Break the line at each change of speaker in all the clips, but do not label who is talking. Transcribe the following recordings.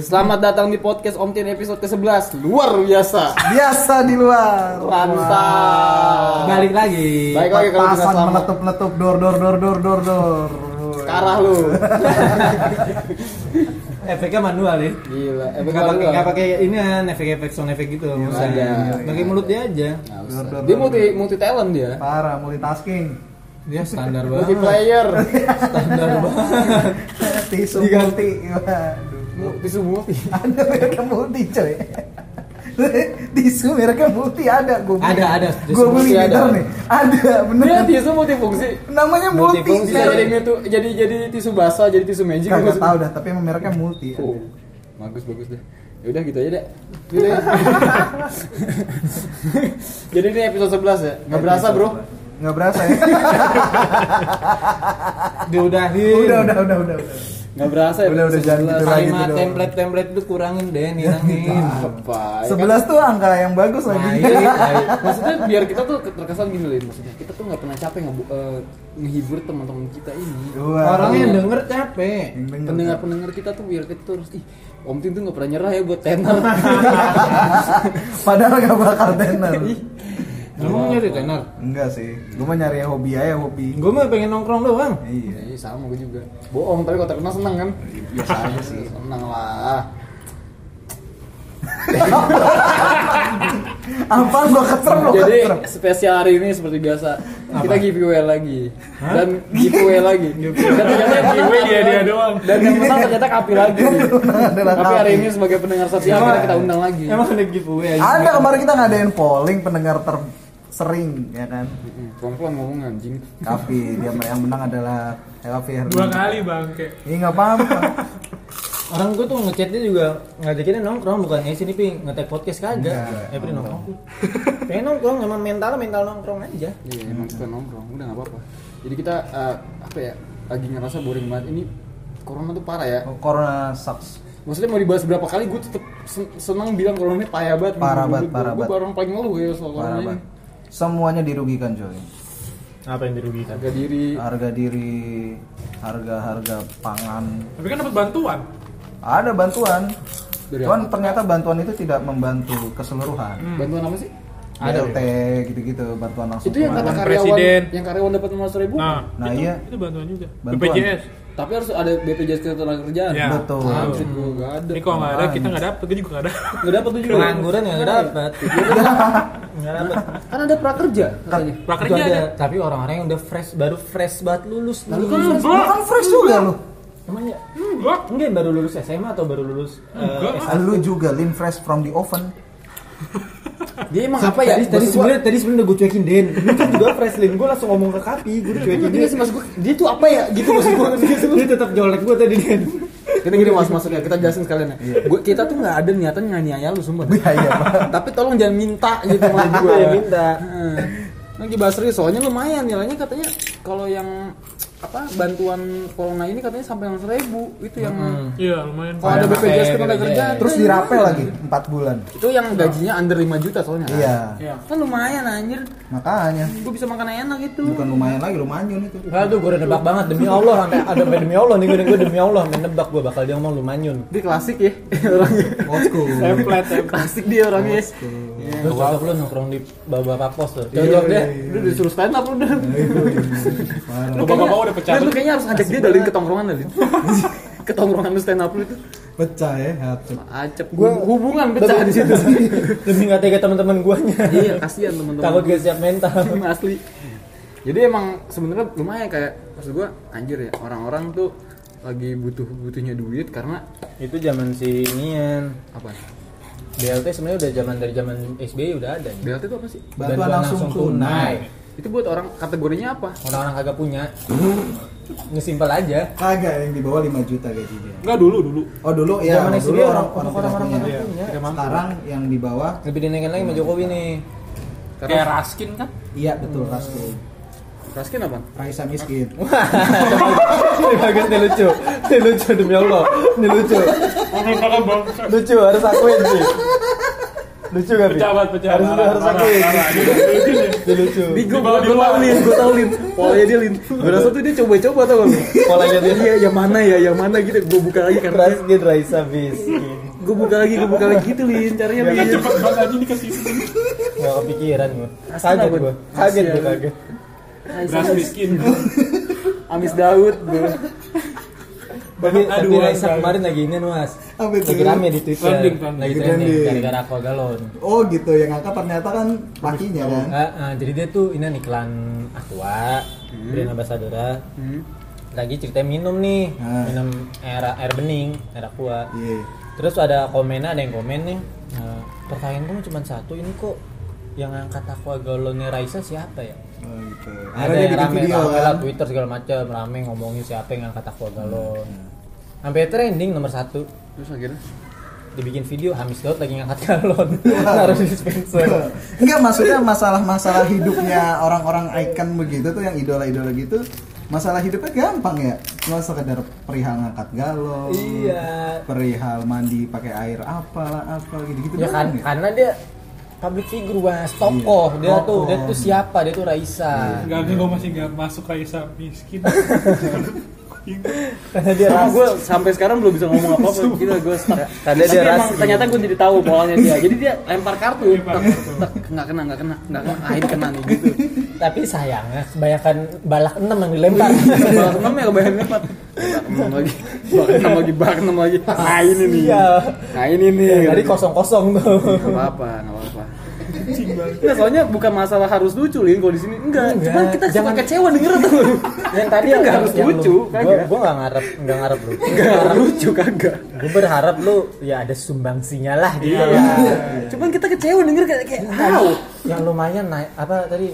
Selamat datang di podcast Om Tin episode ke-11 Luar biasa
Biasa di luar.
Mantap
Balik lagi.
Baik Nah, lagi kalau kita
Pasan
selamat
meletup-letup dor dor dor dor dor dor.
Karah lu Eh,
Efeknya manual ya.
Gila Efek
Enggak pakai
manual.
enggak pakai ini kan efek-efek sound efek gitu. Nggak
iya,
usah.
iya,
Pakai mulut dia aja.
Nggak usah. Dia multi, multi talent dia
Parah multitasking.
Dia standar
Multi
banget.
player
Standar banget.
Tisu
Diganti.
multi. Waduh.
Tisu multi
Ada mereknya multi coy. Tisu mereknya multi ada gue beli.
Ada, ada. Tisu
Gue beli
multi
di
ada.
dalam nih. Ada bener.
Dia tisu multifungsi
Namanya multi.
Multifungsi.
Bisa jadi, mitu- jadi jadi tisu basah, jadi tisu magic
Gak
Maksud-
tau dah, tapi emang mereknya
Iya.
multi. ya.
Oh, bagus bagus deh. Ya udah gitu aja deh. Gitu ya. Jadi ini episode 11 ya. Nggak berasa, Bro.
Gak berasa ya?
Diudahin.
udah, udah, udah, udah, udah.
Nggak berasa ya.
Udah, udah, jangan gitu Iya, lagi.
Sama
dong.
template-template lu kurangin deh, nilangin.
Apa? ya?
Sebelas tuh angka yang bagus
Nah,
lagi.
iya, iya.
maksudnya biar kita tuh terkesan gini loh maksudnya kita tuh nggak pernah capek ngebu- eh, ngehibur teman-teman kita ini
Dua.
Orang yang denger capek.
Yang denger.
pendengar-pendengar kita tuh biar kita tuh harus ih Om Tin tuh nggak pernah nyerah ya buat tenor
Padahal gak bakal tenor.
Iya.
Iya,
Lu mau nyari tenor?
Enggak sih. Gue mah nyari hobi aja hobi.
Gue mah pengen nongkrong doang.
Iya.
Iya sama gue juga bohong tapi kalau terkenal seneng kan
Biasa aja sih.
seneng lah
Apa gua ketrem lo
Jadi
ketrem.
spesial hari ini seperti biasa kita giveaway lagi
Hah?
dan giveaway lagi. Dan ternyata yang
Giveaway
menang-
dia-dia doang.
Dan yang menang ternyata Kapi lagi.
adalah
Tapi hari
Kapi.
ini sebagai pendengar setia
Emang-
kita kita undang lagi.
Emang ada giveaway aja.
Iya. Ada kemarin kita ngadain polling pendengar tersering ya kan.
Mm, Pelan-pelan ngomong anjing.
Kavi dia yang menang adalah Kavi Herdi.
dua kali bangke
Ini enggak apa-apa.
Orang gue tuh ngechatnya juga ngajakinnya nongkrong bukan ya sini ping ngetek podcast kagak.
Enggak,
Eh, pengen nongkrong. pengen nongkrong emang mental mental nongkrong aja.
Iya, emang kita nongkrong, udah nggak apa-apa. Jadi kita eh, apa ya? Lagi ngerasa boring banget. Ini corona tuh parah ya.
Oh, Corona sucks.
Maksudnya mau dibahas berapa kali gue tetep sen- seneng bilang corona ini payah banget.
Parah banget,
Gue-
parah
Gue
banget.
orang paling ngeluh ya soal corona
Parah
ini.
banget. Semuanya dirugikan coy.
Apa yang dirugikan?
Harga diri.
Harga diri, harga-harga pangan,
tapi kan dapat bantuan
ada bantuan.
Dari Hmm.
Cuman ternyata bantuan itu tidak membantu keseluruhan.
Bantuan apa sih?
Ada,
BLT gitu-gitu bantuan langsung.
itu yang kata
Bantuan
karyawan
presiden.
yang karyawan dapat 500 ribu
nah,
Nah,
itu,
iya.
itu bantuan juga
Bantuan.
BPJS
tapi harus ada BPJS ketenagakerjaan kerjaan
Iya.
Betul.
Anjir, gua gak ada
ini kalau nggak ada kita nggak dapet gue juga nggak ada
nggak dapat tuh juga
Pengangguran ya nggak dapat. Nggak dapat.
kan ada prakerja katanya
Itu
prakerja
ada,
ada
tapi orang-orang yang udah fresh baru fresh banget lulus.
Lalu
lulus.
kan-
Lu kan fresh juga lu.
Emangnya?
enggak
Enggak yang baru lulus SMA atau baru lulus eh,
Enggak.
S1?
Ah, Lu juga lean fresh from the oven.
dia emang apa
Sampai
ya
tadi, tadi
Maksud gua-
sebenarnya tadi sebenarnya gue cuekin Den. Lu kan juga fresh Lin. Gue langsung ngomong ke Kapi, gue cuekin
Iya
dia.
sih, maksud gua, dia tuh apa ya gitu maksud gua
Dia tetap jolek gue tadi Den.
kita gini mas maksudnya kita jelasin sekalian ya Gua- kita tuh nggak ada niatan nganiaya lu sumpah
Iya, iya,
tapi tolong jangan minta gitu sama
Gue
gua
yang minta.
Heeh. lagi bahas serius soalnya lumayan nilainya katanya kalau yang apa bantuan corona ini katanya sampai yang seribu itu yang
iya lumayan
kalau ada
Ada
BPJS
pakai
ketenagakerjaan kerjaan
Terus dirapel lagi 4 bulan.
itu yang gajinya under 5 juta soalnya kan?
Iya.
Iya.
kan lumayan anjir
Makanya
gue bisa makan enak gitu. itu
bukan lumayan lagi lumayan itu.
Aduh, gue udah nebak banget demi Allah sampai ada sampai demi Allah nih gue gue demi Allah sampai nebak gue bakal dia ngomong lumanyun.
dia klasik ya orangnya
Old school.
template template.
klasik dia orangnya
Terus cocok lu nongkrong di bapak-bapak pos tuh.
cocok deh lu disuruh stand up lu udah
Parah.
bapak-bapak udah pecah
lu kayaknya harus ngajak dia dalin ke tongkrongan dalin ke tongkrongan lu stand up lu itu
Pecah ya hati.
acep gua hubungan pecah di situ
Demi nggak tega teman-teman guanya.
iya kasihan teman-teman
Takut gak siap mental.
Emang asli jadi emang sebenarnya lumayan kayak maksud gua anjir ya orang-orang tuh lagi butuh butuhnya duit karena
Itu zaman si Nian.
apa
BLT sebenarnya udah zaman dari zaman SBY udah ada. nih.
BLT itu apa sih
Bantuan langsung tunai.
itu buat orang kategorinya apa
Orang-orang kagak punya. Ngesimpel aja.
Kagak yang di bawah 5 juta gajinya.
enggak dulu dulu
Oh dulu ya,
Zaman
dulu
SBY
orang
orang-
orang
orang-
tidak
orang-
punya.
orang punya.
Tidak mampu. Sekarang yang di bawah
Lebih dinaikin lagi sama Jokowi nih.
kayak raskin kan
iya betul raskin.
Raskin apa?
Raisa miskin.
Ini bagus nih lucu. Ini lucu demi Allah. Ini lucu.
Orang-orang bangsa
Lucu harus akuin sih. Lucu gak Bi?
pecah banget pecah
Harus
Parah,
harus
parah,
akuin.
parah.
itu lucu.
Di gue gue tau lin, gue tau lin. Polanya dia lin. Gue rasa tuh dia coba-coba tau gak lu?
Polanya dia.
Iya, yang mana ya, yang mana gitu. Gue buka lagi karena
Raskin Raisa Miskin.
gue buka lagi, gue buka lagi gitu lin. Caranya
Kan
lin.
cepet banget aja dikasih
Gak kepikiran gua.
Kasian
Kaget
abun.
gua. Kaget gua
Kasian.
kaget.
Beras miskin
Amis Daud. gua.
Tapi tapi
Aduh,
Raisa
aduh.
kemarin lagi ini Mas.
Apa itu?
Lagi rame di Twitter.
Trending, trending.
Lagi trending
Trending.
gara-gara aqua galon.
Oh gitu, yang angkat ternyata kan lakinya kan.
Ah, ah, jadi dia tuh ini iklan aqua
Hmm.
brand ambassadora lagi cerita minum nih
Ah.
minum air air bening air aqua
Iya.
Terus ada komen, ada yang komen nih. eh, pertanyaan gue cuma satu, ini kok yang angkat aqua galonnya Raisa siapa ya?
Oh gitu.
Ada
Akhirnya dia
yang
bikin
rame,
video
rame
kan.
lah Twitter segala macam rame ngomongin siapa yang angkat aqua galon.
Hmm.
Sampai trending nomor satu
Terus akhirnya?
dibikin video Hamis Daud lagi ngangkat galon naruh di dispenser.
Enggak maksudnya masalah-masalah hidupnya orang-orang icon begitu tuh yang idola-idola gitu masalah hidupnya gampang ya cuma sekedar perihal ngangkat galon
Iya.
perihal mandi pakai air apalah apa gitu gitu
Ya kan, karena dia public figure mas,
Iya,
tokoh dia tuh
tokoh.
dia tuh siapa dia tuh Raisa.
Gak gue masih gak masuk Raisa miskin
Karena dia
Sama
Raisa.
gue Iya, sampai sekarang belum bisa ngomong apa-apa Gila gue stuck
Karena
Tapi
dia
emang
raskin.
ternyata gue jadi tahu polanya dia Jadi dia lempar kartu
Lempar
Tek,
kartu.
tek, Nggak kena, nggak kena Nggak kena, ah ini kena nih gitu
Tapi sayangnya kebanyakan balak enam yang dilempar.
Balak enam ya kebayang lempar Balak enam lagi Balak enam lagi, balak enam lagi Nah ini nih
Iya.
Nah ini nih
Tadi kosong-kosong tuh.
Nggak apa-apa, nggak apa-apa Nggak, soalnya bukan masalah harus lucu, Lin, kalau di sini enggak.
Enggak,
Cuman kita
jangan-
suka kecewa denger tuh.
yang tadi
Kita nggak harus lucu, kagak.
gue gue nggak iya, ngarep nggak ngarep lu
Enggak lucu kagak.
gue berharap lu ya ada sumbangsinya lah gitu
Iya.
ya.
Cuman kita kecewa denger kayak kayak
Yang-
"Au."
yang lumayan naik apa tadi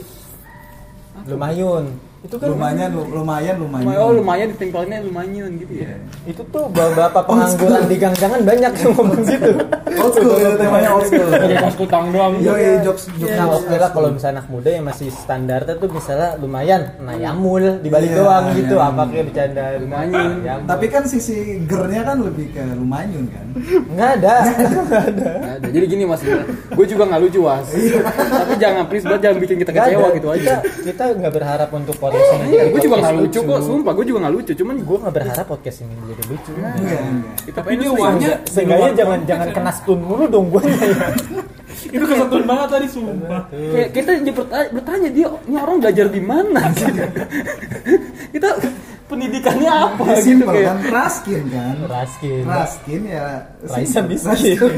lumayan itu kan
lumayan lu- lumayan lumayan
Oh lumayan ditingkalinnya lumayan gitu ya.
itu tuh bapak-bapak pengangguran di gang-gangan banyak yang ngomong gitu
old school itu temanya old
Iya,
school
Gak pas kutang doang
yo yo jokes jokes
Nah,
old
oke
school.
lah kalau misalnya anak muda yang masih standarnya tuh misalnya lumayan, nah yamul di balik
Iya,
doang gitu,
iya.
apa kayak bercanda lumayan. Yamul.
tapi kan sisi gernya kan lebih ke lumayan kan
nggak ada.
Nah, jadi gini mas, gue juga nggak lucu mas. Tapi jangan please banget jangan bikin kita
Nggak
kecewa
ada.
gitu aja.
Kita- Kita nggak berharap untuk podcast ini.
Iya, gue juga
podcast
nggak lucu kok, sumpah gue juga nggak lucu. Cuman
gue nggak berharap podcast ini jadi lucu.
enggak enggak
kita
Tapi dia
pengen
wahnya
lucu.
Seenggaknya jangan jangan kena stun mulu dong gue.
Itu kesatuan banget tadi sumpah
Kayak kita jadi bertanya, bertanya dia, ini orang belajar di mana? sih?" kita pendidikannya apa
Ya,
gitu
simple
kayak.
kan raskin kan
Raskin.
raskin ya
Raisa
simple.
miskin.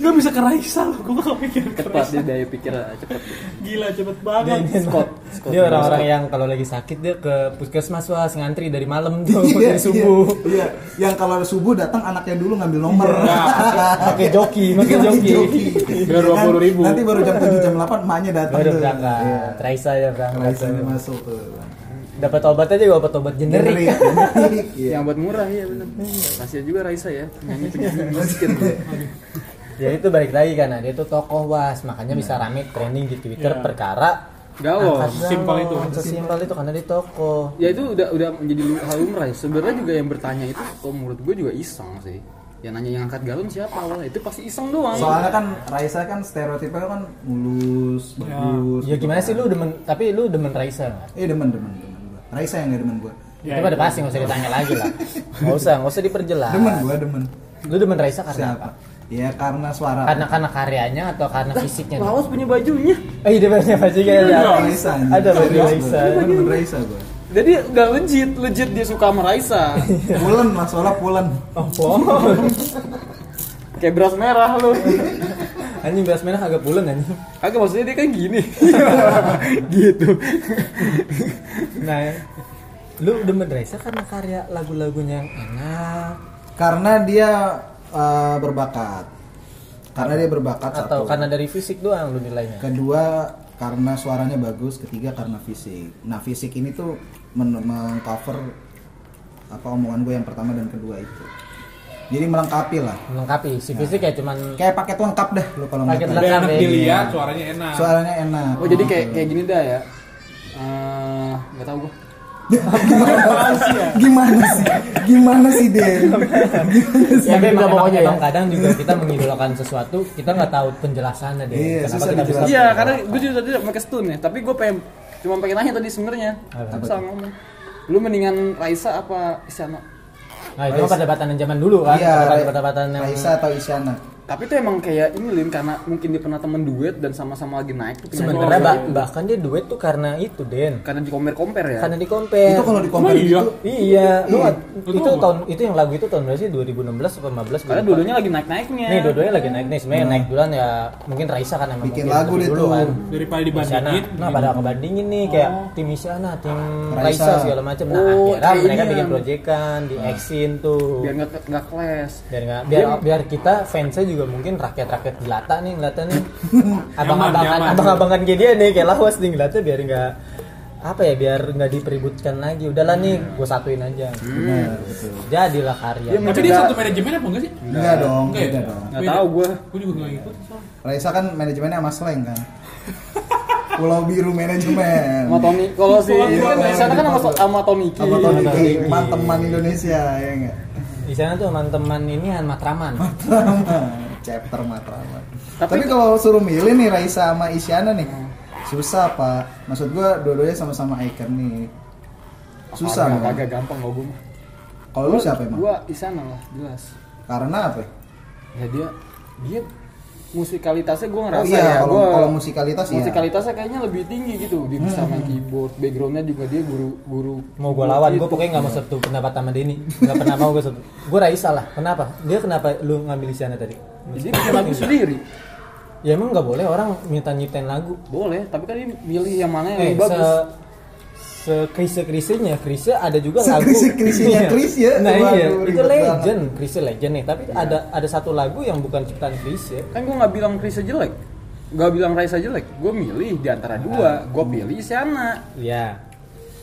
Gak bisa ke Raisa loh Gue gak mikir ke
Cepat
Raisa.
dia daya pikir ah, cepat.
Gila cepet banget
Scott, Scott.
Dia orang-orang yang kalau lagi sakit dia ke puskesmas was ngantri dari malam tuh
Iya,
dari subuh.
Iya, iya. Yang kalau subuh datang anaknya dulu ngambil nomor.
Pakai joki,
Iya,
pakai Iya. joki.
Biar 20.000.
Nanti baru jam 7 jam 8 emaknya datang.
Baru
tuh. Iya.
berangkat. Raisa ya berangkat.
Rasanya masuk tuh.
Dapat obatnya juga obat obat generik.
Generik, generik, iya.
Yang buat murah ya benar. Kasian juga Raisa ya, penyanyi penyanyi gitu miskin.
Ya itu balik lagi kan, nah, dia tuh tokoh was, makanya
Iya.
bisa rame trending di Twitter
Iya.
perkara
Galau.
Angkat
Simpel
galon.
itu.
Sesimpel itu karena dia tokoh.
ya itu udah udah menjadi lu- hal lumrah ya. sebenarnya juga yang bertanya itu kalau menurut gue juga iseng sih yang nanya yang angkat galon siapa awalnya itu pasti iseng doang
Soalnya kan Raisa kan stereotipnya kan mulus, bagus.
Ya gimana sih lu demen tapi lu demen Raisa nggak?
Eh demen demen demen gua. Raisa yang gak demen gua.
Ya,
itu pada pasti nggak usah ditanya lagi lah. Nggak usah, nggak usah diperjelas.
Demen gua demen.
Lu demen Raisa karena
Siapa?
apa?
Ya karena suara.
Karena karena karyanya atau karena fisiknya?
lawas punya bajunya
Eh, dia punya baju kayak ada.
Iya, Raisa. anjing.
Iya. Ada
Serius
baju
gua.
Raisa.
Gua Demen Raisa gua.
jadi nggak legit legit dia suka sama Raisa
Iya.
Pulen lah, soalnya pulen.
Oh, bohong.
kayak beras merah lu
Anjing beras merah agak pulen anjing.
kagak maksudnya dia kan gini gitu
Nah, lu demen Raisa karena karya lagu-lagunya yang enak
karena dia eh, berbakat karena dia berbakat satu
atau karena dari fisik doang lu nilainya?
kedua karena suaranya bagus ketiga karena fisik nah fisik ini tuh men- mengcover apa omongan gue yang pertama dan kedua itu jadi melengkapi lah Nah.
Melengkapi si fisik ya cuman
kayak paket lengkap deh lo kalau nggak
Paket
tahu.
Udah enak
Iya.
dilihat suaranya enak
suaranya enak
oh jadi kayak kayak gini dah ya Eh, nggak tahu gue
gimana sih gimana sih gimana sih Den gimana sih
Tapi
Sampai
emang,
berapa
emang,
pokoknya ya?
emang kadang juga kita mengidolakan sesuatu, kita nggak tahu penjelasannya deh.
Iya, susah
kita bisa
dijelasin.
Iya,
mengidolakan.
karena gue juga tadi pakai stun ya, tapi gue pengen cuma pengen nanya tadi sebenarnya.
Apa?
Tapi salah ngomong. Lu mendingan Raisa apa Isyana?
Nah, itu mah perdebatan yang zaman dulu kan,
Iya,
perdebatan perdebatan yang
Raisa atau Isyana
Tapi itu emang kayak ini Lin karena mungkin dia pernah temen duet dan sama-sama lagi naik tuh penyakit.
sebenarnya
Oh,
bah- bahkan dia duet tuh karena itu Den,
karena di compare compare ya.
karena di compare.
Iya. itu kalau di compare
Emang iya?
gitu
Iya, lu
Iya.
itu tahun itu yang lagu itu tahun berapa sih? 2016
Karena
atau 15? Gua lupa.
dua-duanya lagi naik-naiknya.
Nih dua-duanya lagi naik nih, sebenarnya
Nah.
naik duluan ya mungkin Raisa kan emang
Bikin
mungkin
lagu
lebih
deh
dulu
tuh.
kan.
daripada
Isyana.
dibandingin
Nah pada ngebandingin nih kayak
Oh.
tim Isyana, tim Raisa,
Raisa
segala macam. Nah
Oh,
akhirnya mereka
kayaknya.
bikin proyekan di Exin tuh.
Biar nggak nggak clash.
Biar, nggak- biar, biar kita fansnya juga mungkin rakyat-rakyat jelata nih ngeliatnya nih abang-abangan
nyaman.
abang-abangan kayak dia nih kayak lawas nih ngeliatnya biar nggak apa ya biar nggak dipeributkan lagi udahlah nih gue satuin aja
benar betul
jadilah karya
Dia
tapi dia satu manajemen apa enggak sih
enggak
Iya.
dong
Enggak ya?
beda dong
Nggak
Beda.
tahu gue.
gue juga nggak ngikutin soalnya
Raisa kan manajemennya sama Sleng kan Pulau Biru manajemen
Sama Tony, kalau si
Iya,
kan
iya.
Isyana kan sama sama Tony Ki.
sama Tony
Tony
Ki,
Ki.
empat teman Indonesia ya enggak
di sana tuh teman-teman ini Han Matraman
chapter matraman
Tapi-
tapi, kalau suruh milih nih Raisa sama Isyana nih susah pak maksud gua dua-duanya sama-sama icon nih susah kan?
Agak-
memang.
Agak gampang kalau gue mah.
kalau lu siapa emang
Gue Isyana lah, jelas.
karena apa ya?
Ya dia dia musikalitasnya gue
oh
ngerasa
iya
ya.
kalau
gua-
kalau musikalitas Hmm. ya
musikalitasnya kayaknya lebih tinggi gitu dia bisa main keyboard backgroundnya juga dia guru guru gitu.
mau gue lawan gue pokoknya nggak
Iya.
mau satu pendapat sama Denny nggak pernah mau gue satu gue Raisa lah kenapa dia kenapa lu ngambil di sana tadi
jadi bikin lagu
Gitu.
sendiri
ya emang nggak boleh orang minta nyiptain lagu
boleh tapi kan dia milih yang mana yang
eh
lebih bagus
se se krise krisenya krise ada juga
Se-
lagu
krise-krisenya
Iya.
Kris ya?
nah
Waduh,
iya
ribet
itu
banget.
legend krise legend nih
Iya.
tapi ada ada satu lagu yang bukan ciptaan krise
kan gue nggak bilang Krisa jelek nggak bilang Raisa jelek gue milih di antara
Nah.
dua gue pilih Isyana
ya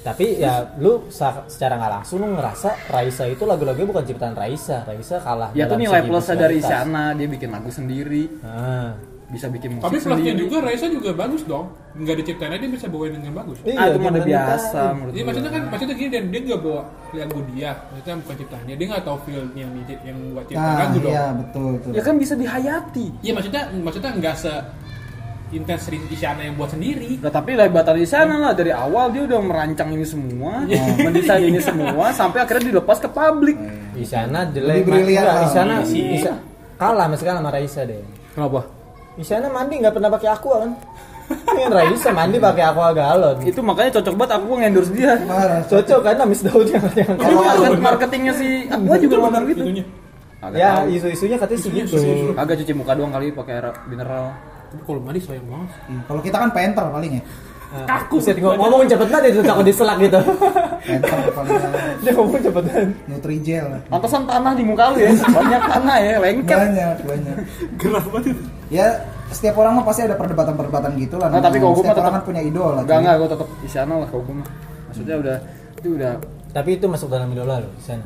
tapi ya lu sa- secara nggak langsung lu ngerasa Raisa itu lagu-lagunya bukan ciptaan Raisa Raisa kalah
ya tuh
dalam
nilai
segi
plusnya dari
visualitas.
Isyana dia bikin lagu sendiri
Ah.
bisa bikin musik
tapi plusnya
sendiri
juga Raisa juga bagus dong nggak diciptain aja dia bisa bawain dengan bagus
ah itu
Iya,
mah udah
gimana
biasa
kan?
menurut
Jadi
gue
maksudnya kan maksudnya gini dan dia nggak bawa lagu dia, maksudnya bukan ciptaannya, dia nggak tahu feel-nya yang dia- yang buat cipta
nah
lagu dong.
iya betul betul
ya kan bisa dihayati
Iya maksudnya maksudnya nggak se intens Rin Isyana yang buat sendiri.
Nah, tapi lebar di sana lah dari awal dia udah merancang ini semua, mendesain ini semua sampai akhirnya dilepas ke publik.
Di sana jelek.
Lebih brilian
Enggak,
lah.
Di sana
Iya sih.
Isa- kalah sama sekali sama Raisa deh.
Kenapa?
Di sana mandi nggak pernah pakai aqua kan? Ini Raisa mandi pakai aqua galon.
Itu makanya cocok banget aku endorse dia.
Parah.
Cocok kan Miss Daud yang yang
Itu
Kalau-
market marketingnya si Aqua juga
Betul,
benar gitu.
itunya.
Agak
ya
tahu.
isu-isunya katanya segitu. Ah.
Agak cuci muka doang kali pakai air mineral.
Tapi Kalau mandi sayang banget.
Iya, kalau kita kan penter paling ya
Kaku sih ngomong cepet banget itu takut diselak gitu.
penter paling
Dia ngomong cepet banget.
nutrijel
Pantesan tanah di muka lu ya, banyak tanah ya, lengket.
banyak banyak
Gerah banget itu.
ya setiap orang mah pasti ada perdebatan-perdebatan gitu lah
Nah, tapi kalau gua mah
setiap orang
tetap-
kan punya idola
Enggak enggak, gua tetap di sana lah kalau gua mah. Maksudnya udah itu udah
Tapi itu masuk dalam idola loh di sana.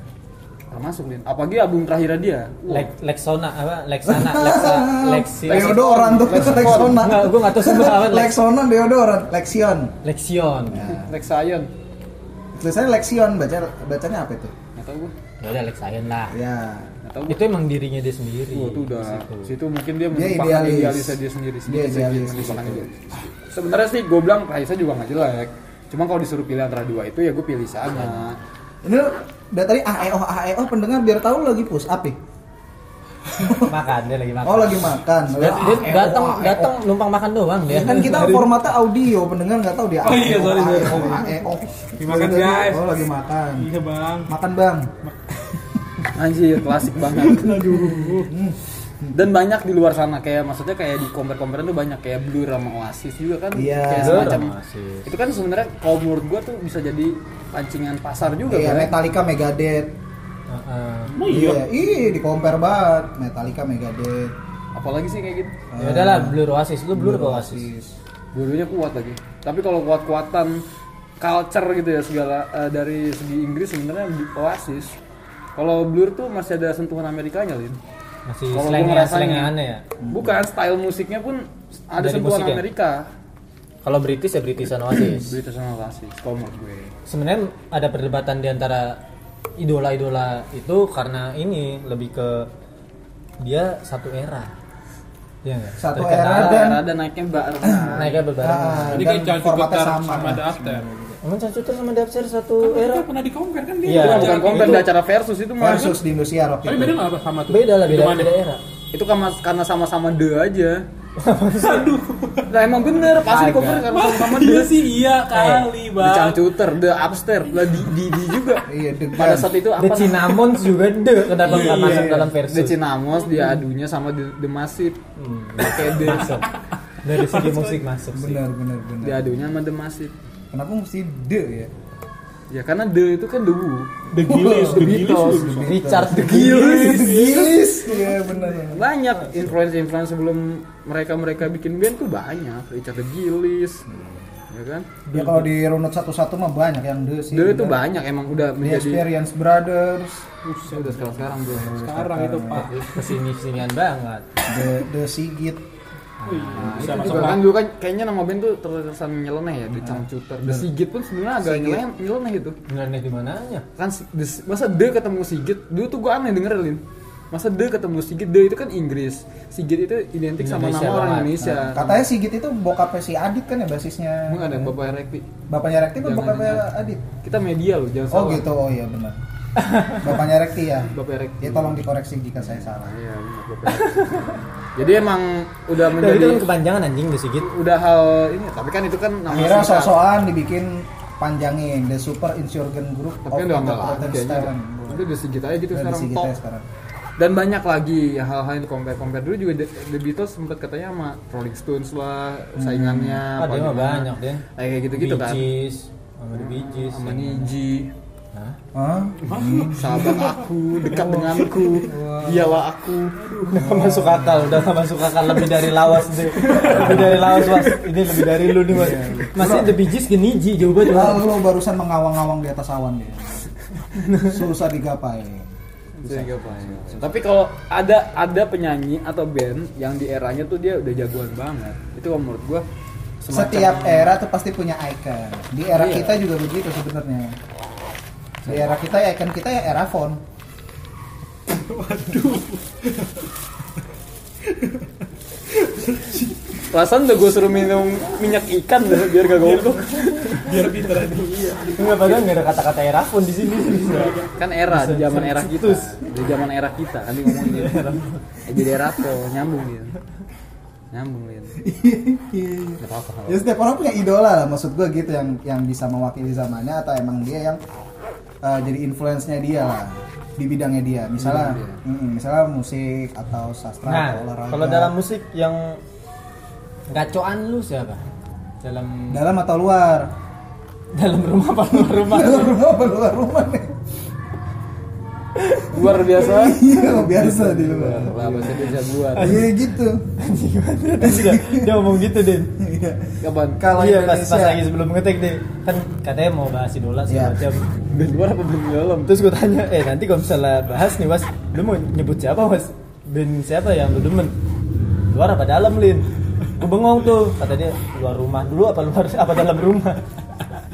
termasuk Lin. Apalagi album terakhirnya dia. Wah,
Lex- Lexona apa? Lexana, Lexa, Lexi.
deodoran tuh Lexona
Enggak, gua nggak tahu sebut apa Lex.
Lexona deodoran Lexion
Lexion.
Lexion.
tulisannya Lexion baca bacanya apa itu
Enggak tahu gua.
Ya udah Lexion lah.
ya
Enggak tahu gua.
Itu emang dirinya dia
Wah,
sendiri.
Iya. Oh, itu udah
Di situ.
situ mungkin dia
dia
menumpahkan
idealis
idealisnya dia sendiri
dia
sedikit sedikit
idealis di
menumpahkan
situ.
idealis. sebenarnya sih gue bilang Raisa juga nggak jelek cuma kalau disuruh pilih antara dua itu ya gue pilih sana
ini lu dari tadi E AEO AEO pendengar biar tahu lu lagi push up ya
makan dia lagi makan.
oh lagi makan Ah, E eh, oh,
dia, dia
AEO,
datang
AEO.
datang numpang makan doang dia.
Ya kan kita formatnya audio, pendengar nggak tahu dia.
Oh iya, sorry, sorry.
AEO, AEO.
Dimakan,
Dia tadi,
guys.
Oh lagi makan.
Iya bang.
Makan bang.
anjir klasik banget dan banyak di luar sana kayak maksudnya kayak di compare compare tuh banyak kayak Blur sama Oasis juga kan
Iya.
kayak
Blur
semacam
sama Oasis.
itu kan sebenarnya kalau menurut gue tuh bisa jadi pancingan pasar juga
Iya,
kan
Metallica, Megadeth.
Heeh.
Oh iya.
Iya, di compare banget Metallica, Megadeth.
apalagi sih kayak gitu
Ya udahlah blur oasis lu blur apa oasis.
dulunya kuat lagi tapi kalau kuat kuatan culture gitu ya segala eh, dari segi Inggris sebenarnya di Oasis kalau Blur tuh masih ada sentuhan Amerikanya Lin
Masih
Kalau gua
slang
ngerasain
slang
ya.
aneh ya.
bukan style musiknya pun ada
Dari
sentuhan
musik ya?
Amerika
Kalau British ya Britishan Oasis.
Berita sama Oasis, kalau menurut gue.
Sebenarnya ada perdebatan di antara idola-idola itu karena ini lebih ke dia satu era. Iya enggak?
Satu
Terkendala,
era dan-
Rada naiknya barengan.
naiknya berbarengan.
Ah,
Jadi
dan
kayak Chan
formatnya
Sukutar
sama.
sama The After.
Emang Chan Suter sama Dapser satu era?
Mereka pernah di compare kan dia.
Iya.
Itu
Bukan
acara-
konten,
itu-
di acara versus itu mah.
Versus di Indonesia waktu itu.
Tapi Iya, kan? beda nggak apa sama tuh?
Beda lah, beda,
Hitungannya.
beda era.
Itu karena, karena sama-sama de aja. Aduh. Nah emang bener, pasti di cover
Agak.
karena sama-sama
Iya
de.
sih iya kali
Eh,
The
bang.
Changcuter, The Upstairs, lah di, di, di juga.
Iya, The
Pada
Gun.
saat itu apa?
The Cinnamon juga deh kenapa
Iya,
nggak
iya,
masuk
iya.
dalam
namanya? The
versus?
Cinamos, dia adunya sama The, the Masif.
Hmm,
Kayak The.
masuk. Dari segi musik masuk sih.
Benar, benar, benar.
Dia
Iya,
adunya sama The Masif.
Kenapa mesti de ya?
Ya karena The itu kan The Who.
The Gillies, The Gillies
Beatles,
juga bisa.
Oh, Richard the
Gilis,
Gillis.
gilis. Iya, benar. benar.
Banyak influence-influence sebelum mereka-mereka bikin band tuh banyak. Richard Gillis. Ya kan?
Ya kalau di runut satu-satu mah banyak yang de sih.
The itu
Iya, benar.
banyak emang udah
The
menjadi
Experience Brothers,
Buset, udah sekarang-sekarang tuh.
Sekarang itu pak.
Kesini kesinian banget.
The The Sigit.
Wih, bisa
Itu
masuk gitu.
juga
lah.
kan dulu kan kayaknya nama band tuh terkesan nyeleneh ya, The Changcuter. The Sigit pun sebenarnya agak nyeleneh, nyeleneh gitu. itu.
Benernya di mananya?
kan si- des- masa de ketemu Sigit dulu tuh gue aneh denger Lin masa de ketemu Sigit de itu kan Inggris Sigit itu identik sama
Indonesia
nama orang
banget.
Indonesia
Iya.
Nah, katanya Sigit itu bokapnya si Adit kan ya basisnya.
emang ada bapak Rekti
Bapaknya Rekti apa
Jangan,
bapaknya
jangan.
Adit?
kita media loh jangan
Oh
salah
gitu, oh iya benar. Bapaknya Rekti ya.
bapak Rekti
Ya tolong dikoreksi jika saya salah.
Iya, benar, bapak Rekti. jadi emang udah
Nah, itu
menjadi
kan kepanjangan anjing di Sigit.
udah hal ini tapi kan itu kan nama
Akhirnya
singkat.
sosokan dibikin panjangin The Super Insurgent Group
tapi kan udah nggak lagi
Metropolitan
kayaknya
Stern.
udah udah Sigit aja gitu
Udah di
sekarang
Sigit
top
aja sekarang.
dan banyak lagi ya hal-hal yang compare compare dulu juga The, The Beatles sempat katanya sama Rolling Stones lah saingannya
Ah,
apa
dia mah
gimana.
banyak, Den.
Nah, kayak gitu-gitu kan
Bijis, sama di Bijis.
sama Niji
Hah?
Hah?
sahabat aku dekat denganku dialah aku
Nggak masuk akal, udah nggak masuk akal lebih dari lawas deh. Lebih dari lawas, Mas. Ini lebih dari lu nih, Mas. Masih The Bijis gini Ji, jauh banget. Mas.
Lalu lo barusan mengawang-awang di atas awan dia. Susah digapai.
tapi kalau ada ada penyanyi atau band yang di eranya tuh dia udah jagoan banget itu kalau menurut gua semacam-
Setiap era tuh pasti punya icon. Di era
Iya.
kita juga begitu sebenarnya. Di era kita ya icon kita ya era phone.
perasaan udah gua suruh minum minyak ikan deh, biar gak goblok
Biar pinter aja. Iya.
Enggak padahal enggak ada kata-kata era pun di sini.
kan era di zaman era kita
Terus.
di zaman era kita nanti ngomongin gitu Eh, jadi era apa nyambung gitu nyambung gitu nggak apa-apa
Ya setiap orang punya idola lah maksud gue gitu yang yang bisa mewakili zamannya atau emang dia yang uh, jadi influence-nya dia lah di bidangnya dia. Misalnya mm, misalnya musik atau sastra
Nah,
atau olahraga.
kalau dalam musik yang gacoan lu siapa? Dalam
dalam atau luar?
dalam rumah apa luar rumah?
Dalam rumah apa luar rumah nih?
luar biasa
Iya, biasa di luar.
lah bahasa dia jagoan
Iya gitu.
Dia dia ngomong gitu, Din.
Iya.
kapan
Kalau
iya, pas,
Indonesia
pas lagi sebelum ngetek deh kan katanya mau bahas idola segala
Iya.
macam
band luar apa band dalam
terus gue tanya eh nanti kalau misalnya bahas nih mas lu mau nyebut siapa mas band siapa yang lu demen luar apa dalam lin gue bengong tuh kata dia luar rumah dulu apa luar apa dalam rumah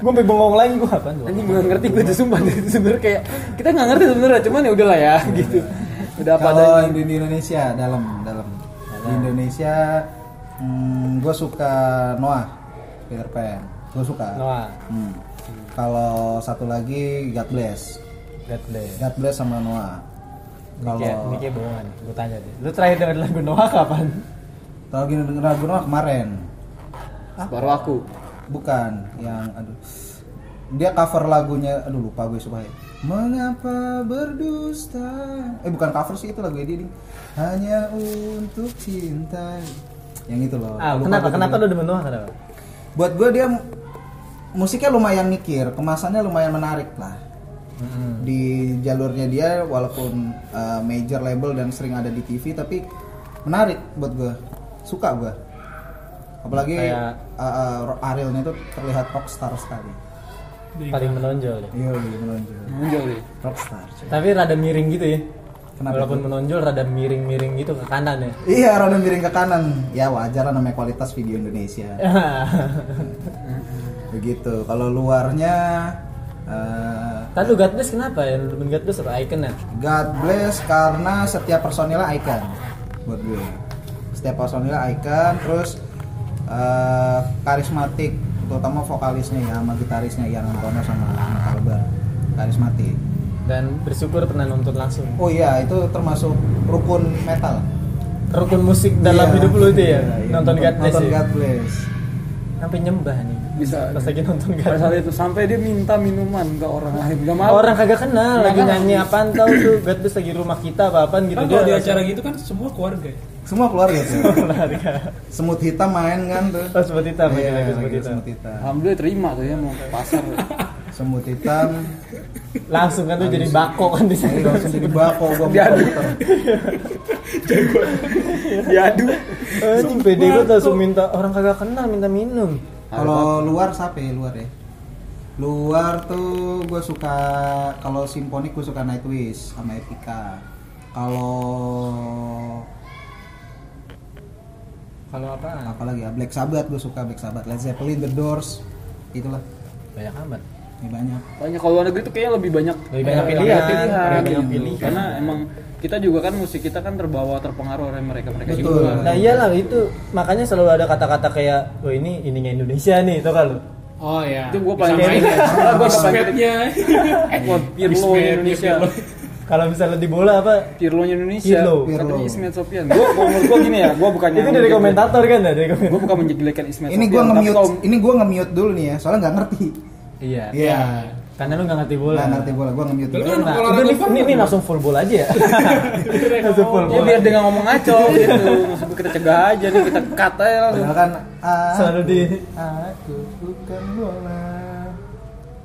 gue sampai bengong lagi gue apa tuh
Anjing gue gak ngerti gue tuh sumpah Itu sebenernya kayak Kita gak ngerti sebenernya Cuman ya udahlah ya gitu Udah apa
Kalau
adanya
di di Indonesia dalam dalam di Indonesia gue suka Noah Peter Pan gue suka
Noah
Hmm. kalau satu lagi God Bless
God bless
God Bless sama Noah
ini kayak ini
kalau
kayak bohongan gue tanya deh lu terakhir denger lagu Noah kapan
kalau gini denger lagu Noah kemarin
Baru aku
bukan yang aduh dia cover lagunya aduh lupa gue supaya mengapa berdusta eh bukan cover sih itu lagu dia nih hanya untuk cinta yang itu loh
ah
Lupa
kenapa
gue
kenapa
judulnya.
lu demen Noah kenapa
buat gue dia mu- musiknya lumayan mikir kemasannya lumayan menarik lah Hmm. di jalurnya dia walaupun uh, major label dan sering ada di TV tapi menarik buat gue suka gue apalagi
Kayak-
uh, uh, ro- Arielnya itu terlihat rockstar sekali
paling menonjol ya. deh
iya iya menonjol
Muncul deh
rockstar cuy.
tapi rada miring gitu ya
Kenapa
Walaupun menonjol rada miring-miring gitu ke kanan ya.
Iya, roda miring ke kanan. Ya wajar lah namanya kualitas video Indonesia. Begitu. Kalau luarnya eh,
Tadi lu God bless kenapa ya? Lu demen God bless apa icon ya?
God bless karena setiap personilnya icon buat gue. Setiap personilnya icon, terus eh, karismatik, terutama vokalisnya ya sama gitarisnya yang Antono sama Ahmad Albar. Karismatik.
Dan bersyukur pernah nonton langsung.
Oh iya, itu termasuk rukun metal.
Rukun musik dalam
Iya,
hidup lu itu ya?
iya, iya.
nonton God bless
Nonton
ya?
God Bless.
Sampai nyembah nih.
Bisa.
Pas lagi nonton God
Pada saat
bless.
itu sampai dia minta minuman ke orang lain. Gak mau.
Orang kagak kenal lagi
Nggak
nyanyi apaan tau tuh God bless lagi rumah kita apa apaan gitu
kan kalau di
langsung- Iya.
acara gitu kan semua keluarga ya.
Semua keluarga tuh.
Keluarga.
Semut hitam main kan tuh.
Oh seperti itu,
Iya,
lagi
lagi
seperti itu.
semut hitam.
Alhamdulillah terima tuh ya mau ke pasar.
Semut hitam.
Langsung kan tuh jadi bako kan di
Jadi
sana.
Iya, langsung jadi bako gua
Dia
muter
ada. Diadu.
Anjing pede banget langsung minta orang kagak kenal minta minum.
Kalau luar siapa ya luar ya? Luar tuh gue suka kalau simfonik gue suka Nightwish sama Epica. Kalau
Kalau apaan?
apalagi ya Black Sabbath gue suka Black Sabbath, Led Zeppelin, The Doors, itulah
Banyak amat.
ini banyak.
Banyak kalau luar negeri tuh kayaknya lebih banyak eh,
Lebih banyak pilihan,
pilihan,
lebih banyak
gitu.
pilihan.
Karena emang kita juga kan musik kita kan terbawa terpengaruh oleh mereka mereka
Betul.
juga.
Nah iyalah itu makanya selalu ada kata-kata kayak wah ini ininya Indonesia nih itu kan. kalau
Oh ya.
Itu gua paling
Disamain
keren.
ya.
Gua paling keren.
Respect-nya.
Wah, Pirlo
Respect,
Indonesia.
Pirlo.
kalau misalnya di bola apa
Pirlo Indonesia.
Pirlo.
Katanya
Pirlo.
Ismet Sofian. Gue menurut gue gini ya, gue bukannya
itu dari komentator kan ya dari
Gue
komentator.
bukan menjelekkan Ismet
Ini gue
Sofian, tapi
nge-mute,
kalau-
ini gue nge-mute dulu nih ya, soalnya nggak ngerti.
Iya.
Iya.
Karena lu nggak ngerti bola.
Nggak ngerti bola, gue nge-mute dulu.
Lu kan
Nah,
olahraga
udah nih,
full
ini,
kan?
ini langsung full bola aja ya. langsung full
Ya
bola.
biar dia nggak ngomong ngaco gitu. Maksud gua kita cegah aja nih, kita cut aja langsung.
Padahal kan
Selalu
aku,
di-
Ah.
aku bukan bola.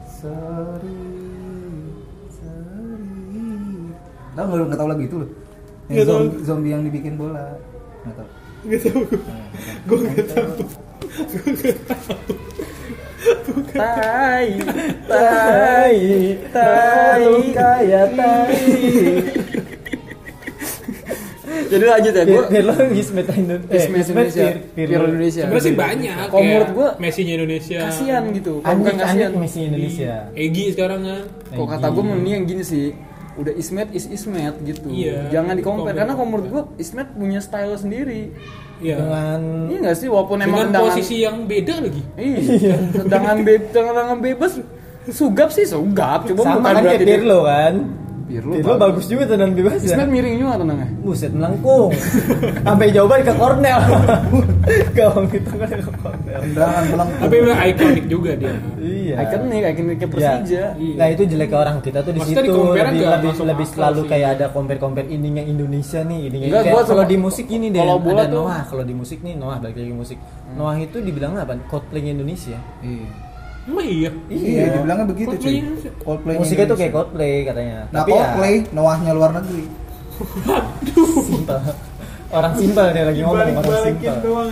Sorry, sorry. Tahu nggak nggak tahu lagu itu loh. Yang zombie, zombie yang dibikin bola. Nggak tahu. Eh, kan
Tai, tai,
Tai, tai, kaya tai.
Jadi lanjut ya, gue
Biar, biar lo Ismet Indonesia.
Ismet Indonesia, Pirlo Indonesia.
Sebenarnya sih banyak.
Kalau menurut gue,
Messi-nya Indonesia.
kasihan gitu. Kalau bukan
Anjing
kasihan.
anjing Messi Indonesia.
Iya.
Egi sekarang kan.
Kok kata gue mending yang gini sih, udah Ismet is Ismet gitu.
Iya.
Jangan dikompar
Compare.
karena kalau menurut gue Ismet punya style sendiri.
Iya.
Dengan
Iya nggak sih, walaupun emang
Dengan
tendangan-
posisi yang beda lagi.
Iya, tendangan bebas, tendangan bebas. Sugap sih sugap, coba
sama
bukan
kan kayak
berarti dia-
Pirlo kan.
Pirlo,
Pirlo bagus juga tendangan bebas ya.
Ismet miring juga tendangannya.
Buset melengkung. Sampai jawaban ke Cornell. Gawang kita kan ke Cornell.
Tendangan
Tapi
belengkung.
memang ikonik juga dia.
Iya.
Ikonik, ikonik kayak Persija.
Iya. Nah itu jelek orang kita tuh di
Maksudnya
situ
di-compare
lebih
nggak
lebih,
masuk
lebih
akal
selalu
sih.
kayak ada compare compare ininya Indonesia nih ininya
Enggak,
kayak
gua
kalau
sama-
di musik ini deh
kalau bola
ada
tuh-
Noah kalau di musik nih Noah balik lagi ke musik Noah itu dibilang apa Coldplay Indonesia
Iya.
Emang iya.
Iya, dibilangnya begitu cuy.
Coldplay Indonesia.
Coldplay
musiknya tuh kayak
Indonesia.
Coldplay katanya
Nah,
ya,
Coldplay Noahnya luar negeri.
simpel orang simpel dia lagi ngomong orang simpel
doang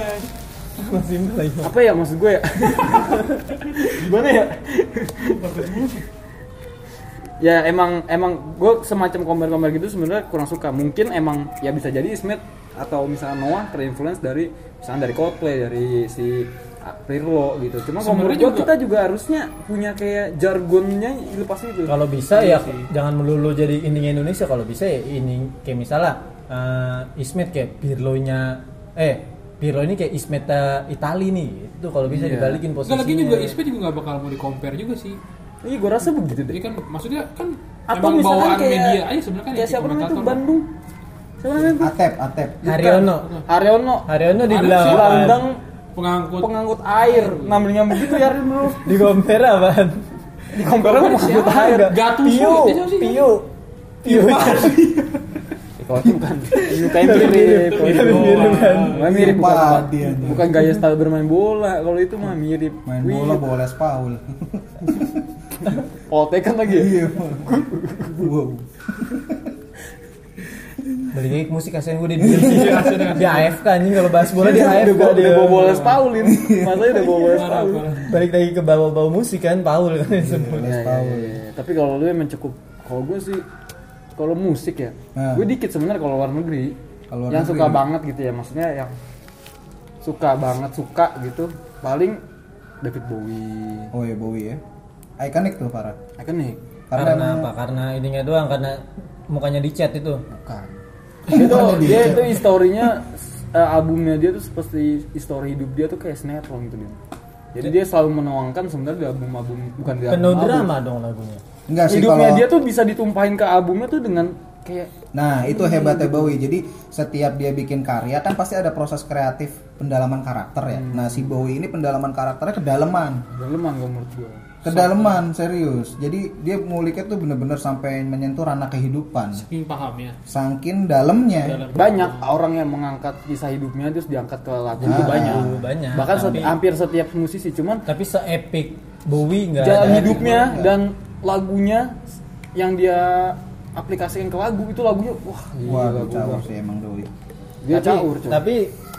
orang simpel lagi ngomong.
Apa ya maksud gue ya? Gimana ya? ya emang emang gue semacam kompar-kompar gitu sebenarnya kurang suka. Mungkin emang ya bisa jadi Ismet atau misalnya Noah terinfluence dari misalnya dari Coldplay dari si Pirlo gitu. Cuma kalau menurut
Sebenarnya
gue
juga-
kita juga harusnya punya kayak jargonnya lepas itu.
kalau bisa ya jangan melulu jadi ending Indonesia kalau bisa ya ini kayak misalnya eh, Ismet kayak Pirlo-nya eh Pirlo ini kayak Ismet eh, Itali nih itu kalau bisa
Iya.
dibalikin
Nggak
posisinya
lagi juga ISP juga nggak bakal mau di-compare juga sih.
Iya, gue rasa begitu deh.
Jadi kan maksudnya kan
Atau
emang
misalkan
bawaan
kayak
media aja sebenarnya kan
kayak
ya,
siapa namanya itu
komentator.
Bandung. Siapa namanya itu?
Atep, Atep.
Haryono
Haryono.
Haryono dibilang
Haryono.
Gelandang
apaan?
pengangkut
pengangkut air. Namanya begitu ya Haryono.
di compare apaan
Di komperan pengangkut
Siapa?
air.
Gattuso,
Pio
itu siapa sih?
Pio Pio
Kalau itu bukan. Itu kayak Iya, gitu. mirip. Kalau itu
mirip, kan?
Wah, mirip bukan
Lupa
bukan-
dia.
bukan gaya style bermain bola. Kalau itu mah mirip.
Main
Wih,
bola boles Paul.
Potek kan lagi. ya?
wow.
balik lagi ke musik kasihan gue di di AFK anjing kalau bahas bola di
Iya, Dia udah
AFK
bawa
dia
udah bawa bola Iya. Paulin. Masanya udah bawa bola
Parah,
Paulin.
parah.
balik lagi ke bawah-bawah musik kan Paul kan semua
Iya, iya, iya. Tapi kalau lu emang cukup kalau gue sih kalau musik ya
Nah.
gue dikit sebenarnya kalau luar negeri
Kalau luar
yang
negeri
suka
ya?
banget gitu ya maksudnya yang suka banget suka gitu paling David Bowie Nah, kan
Oh iya Bowie ya. Ikonik tuh parah.
ikonik
Karena,
emang-
apa? Karena ininya doang, karena mukanya dicat itu.
bukan itu
Mukanya
dia
dicat.
itu historinya eh, albumnya dia tuh seperti histori hidup dia tuh kayak sinetron gitu dia jadi dia selalu menuangkan sebenarnya di album-album bukan di
Penuh
album-album.
drama dong lagunya.
Enggak sih
hidupnya
kalau
dia tuh bisa ditumpahin ke albumnya tuh dengan kayak
Nah, itu hebatnya Bowie. Jadi setiap dia bikin karya kan pasti ada proses kreatif pendalaman karakter ya. Nah, si Bowie ini pendalaman karakternya kedalaman.
daleman kalau menurut gue
Kedalaman serius. Jadi dia nguliknya tuh bener-bener sampai menyentuh ranah kehidupan.
Saking pahamnya.
Saking dalamnya.
Dalam.
banyak orang yang mengangkat kisah hidupnya terus diangkat ke lagu itu
Ah,
banyak
Nah, banyak.
bahkan
Tapi-
seti- hampir setiap musisi cuman
Tapi se-epic Bowie nggak
jalan
ada.
hidupnya dan lagunya yang dia aplikasikan ke lagu itu lagunya wah
Wah,
gila,
gue
Iya, gua
cawur
bilang.
sih emang Bowie.
dia
Iya, tapi,
caur cuy.
tapi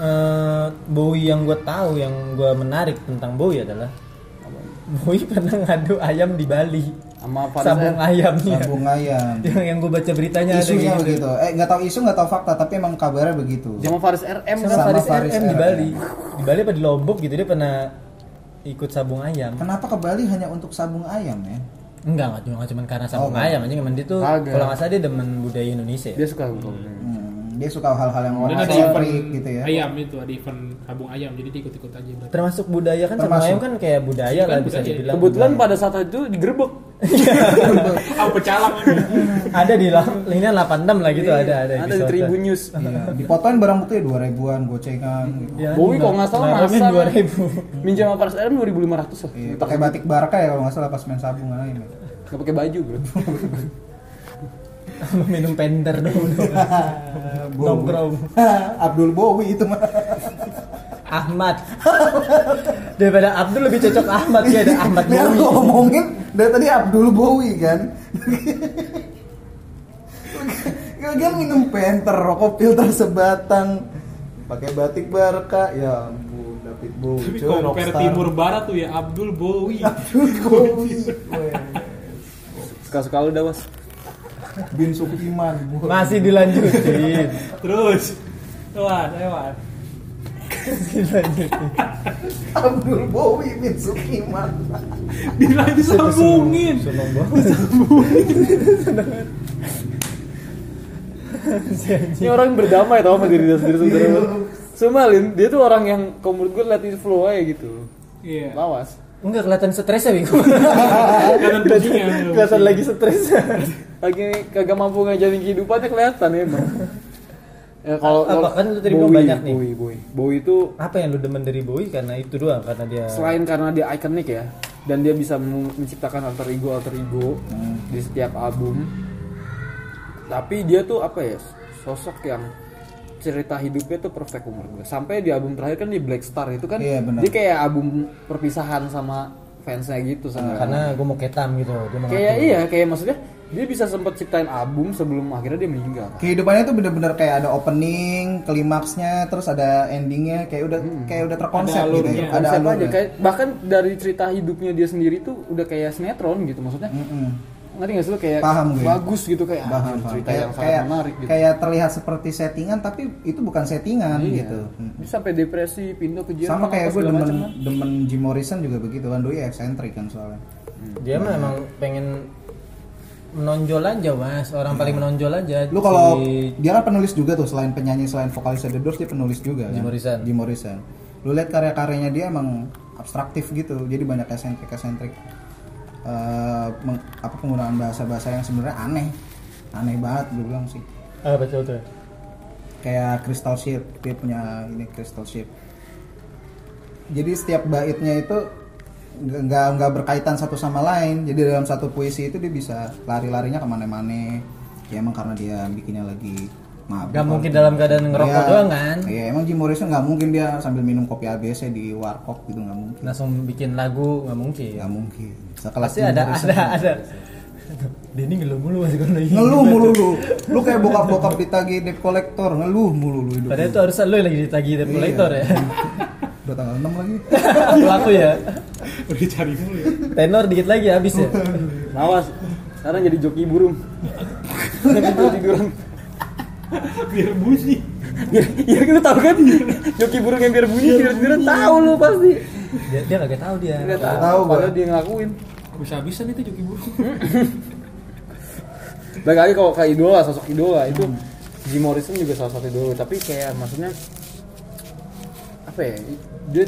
eh, Bowie yang gue tahu yang gue menarik tentang Bowie adalah Bowie pernah ngadu ayam di Bali
sama
sabung
Faris
ayamnya
Sabung ayam.
yang yang gue baca beritanya Iya. ada
Isunya
gitu.
begitu. Eh, nggak tahu isu, nggak tahu fakta, tapi emang kabarnya begitu.
sama Faris RM
Sama
kan
Faris,
Faris
RM di
RM.
Bali di Bali apa di Lombok gitu dia pernah ikut sabung ayam
Kenapa ke Bali hanya untuk sabung ayam ya?
enggak nggak cuma cuma karena sabung
Oh.
ayam aja emang dia tuh
Kagak.
kalau nggak salah dia demen budaya Indonesia ya.
dia suka lagu
Hmm, dia suka hal-hal yang
Dan
warna
ada event
sentrik gitu ya.
ayam itu, ada event sabung ayam, jadi dia ikut-ikut aja berarti.
termasuk budaya kan sabung
Termasuk.
ayam kan kayak budaya
Kan
lah bisa
budaya.
dibilang
kebetulan pada saat itu digerebek
Ah, pecalang ini.
ada di lang- linian 86 lah gitu ada ada
Iya, ada di
episode-nya.
Tribun News
Iya, dipotoin barang bukti dua ribuan gocengan gitu.
Ya,
Bowie
nah,
kalau nggak salah
naramin
masak.
2000
minjam sama Faris RM 2500 lah
Iya, pakai batik barca ya kalau nggak salah pas main sabung aja.
Eh,
ya.
nggak pakai baju bro
minum pender dulu Nongkrong.
Abdul Bowie itu mah.
Ahmad daripada Abdul lebih cocok Ahmad sih ada Ahmad
Nih aku
Bowie
ngomongin dari tadi Abdul Bowie kan. Kalian minum penter, rokok filter sebatang, pakai batik barca. Ya ampun, David Bowie.
Tapi
coy,
compare
rockstar.
timur barat tuh ya Abdul Bowie.
Abdul Bowie. coy.
suka-suka lu dah was
Bin Sukiman.
masih dilanjutin
Terus lewat, lewat.
masih dilanjutin
Abdul Bowie Bin Sukiman.
Bila disambungin.
Seneng banget.
Ini orang yang berdamai tau sama diri dia sendiri sebenarnya. Cuma Lin, dia tuh orang yang kalau menurut gue let it flow aja gitu.
Iya.
Lawas.
Enggak kelihatan stres ya
Iya,
Bego.
Kelihatan pusingnya.
kelihatan lagi stres.
Lagi kagak mampu ngajarin kehidupannya kelihatan ya, Bang. Ya, kalau
Apa?
kalau
Kan lu tadi bilang
Bowie,
banyak nih.
Bowie, Bowie. Bowie itu
Apa yang lu demen dari Bowie karena itu doang karena dia
selain karena dia ikonik ya dan dia bisa men- menciptakan alter ego alter ego
Hmm.
di setiap album. Tapi dia tuh apa ya? Sosok yang cerita hidupnya tuh perfect umur gue. Sampai di album terakhir kan di Black Star itu kan
Iya, benar.
dia kayak album perpisahan sama fansnya gitu sama
karena gue mau ketam gitu, gue mau
kayak
ngaku.
iya kayak maksudnya dia bisa sempat ciptain album sebelum akhirnya dia meninggal kan.
kehidupannya tuh bener-bener kayak ada opening, klimaksnya, terus ada endingnya, kayak udah kayak udah terkonsep
Ada
gitu,
alurnya.
ya. ada
Hmm. Konsep aja
alurnya.
kayak bahkan dari cerita hidupnya dia sendiri tuh udah kayak sinetron gitu maksudnya
Mm-mm.
ngerti nggak sih lu kayak
Paham gue.
bagus gitu kayak ah,
Paham, paham.
cerita
Kayak,
yang sangat
kayak,
menarik gitu
kayak terlihat seperti settingan tapi itu bukan settingan
Iya.
gitu.
Dia sampai depresi pindah ke Jerman
Sama kayak
apa
gue
segala
demen
macam kan? lah.
demen Jim Morrison juga begitu kan doi eksentrik kan soalnya.
Dia mah emang pengen menonjol aja mas, orang paling menonjol aja.
Lu kalau
si-
dia kan penulis juga tuh selain penyanyi selain vokalis The Doors dia penulis juga kan.
Jim Morrison.
Jim Morrison. Lu lihat karya-karyanya dia emang abstraktif gitu. Jadi banyak eksentrik eksentrik apa penggunaan bahasa-bahasa yang sebenarnya aneh. Aneh banget gue bilang sih.
ah betul tuh.
Kayak Crystal Ship, dia punya ini Crystal Ship. Jadi setiap baitnya itu nggak- nggak nggak berkaitan satu sama lain. Jadi dalam satu puisi itu dia bisa lari-larinya kemana-mana. Ya emang karena dia bikinnya lagi mabuk.
Gak mungkin dalam keadaan ngerokok
Iya.
doang kan?
Iya, emang Jim Morrison nggak mungkin dia sambil minum kopi ABC di warkop gitu nggak mungkin.
Langsung bikin lagu nggak mungkin.
Nggak mungkin. Sekelas
Pasti
Jim
ada
Morrison.
ada ada. Denny ngeluh mulu masih kalau lagi.
Ngeluh mulu lu. Lu kayak bokap-bokap ditagih debt collector, ngeluh mulu lu hidup.
Padahal
lu.
itu harusnya lu yang lagi ditagih regulator ya.
Udah tanggal 6 lagi.
Pelaku ya.
Udah cari dulu ya.
Tenor dikit lagi habis ya.
lawas sekarang jadi Iya kan, joki burung tidur tiduran
biar bunyi
ya lu tahu kan joki burung yang biar bunyi
Iya,
tidur tiduran tahu lu pasti
dia dia nggak tahu dia
nggak
tahu.
tahu
gua.
padahal dia ngelakuin
bisa bisa nih tuh joki burung
Balik lagi kalau ke idola, sosok idola itu
Hmm.
Jim Morrison juga salah satu idola, tapi kayak maksudnya apa ya? Dia,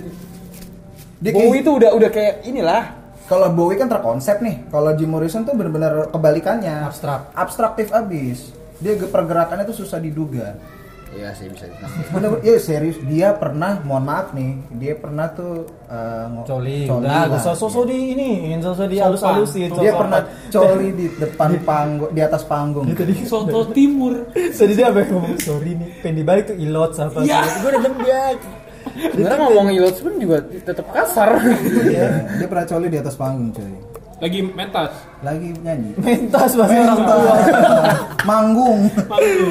Dia
Bowie
kayak-
itu udah udah kayak inilah.
Kalau Bowie kan terkonsep nih. Kalau Jim Morrison tuh bener-bener kebalikannya.
Abstrak.
Abstraktif abis. Dia ge- pergerakannya tuh susah diduga.
Iya sih bisa.
Bener, ya serius dia pernah, mohon maaf nih, dia pernah tuh eh, ngo-
coli
coli
udah
lah.
gak usah sosok di ini ingin sosok di halus halusin
Dia pernah coli di depan panggung, di atas panggung.
itu tadi
soto timur
tadi dia apa yang ngomong sorry nih pengen dibalik tuh ilot sama
Iya.
gue udah nembak
Sebenarnya ngomong idola pun juga tetap kasar.
Iya, dia pernah coli di atas panggung cuy.
lagi mentas
Lagi nyanyi.
mentas mas orang
Mental.
tua
manggung.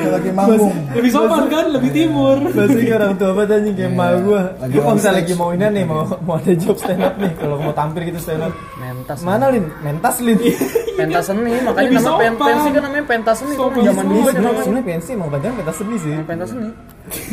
Lagi manggung.
lebih sopan kan lebih timur
Maksudnya orang tua apa tanya kayak mau gua
Lagi
Gua kalau
on
misalnya
stage.
lagi mau ini nih mau mau ada job stand up nih kalau mau tampil gitu stand up
Mentas.
mana Lin? Mentas Lin
Pentas seni, makanya
Lebih
nama pen
sopan.
pensi kan namanya pentas seni kan
Sopan
zaman dulu
Iya.
semua,
sih namanya.
sebenarnya pensi mau panjang pentas seni sih
Pentas seni.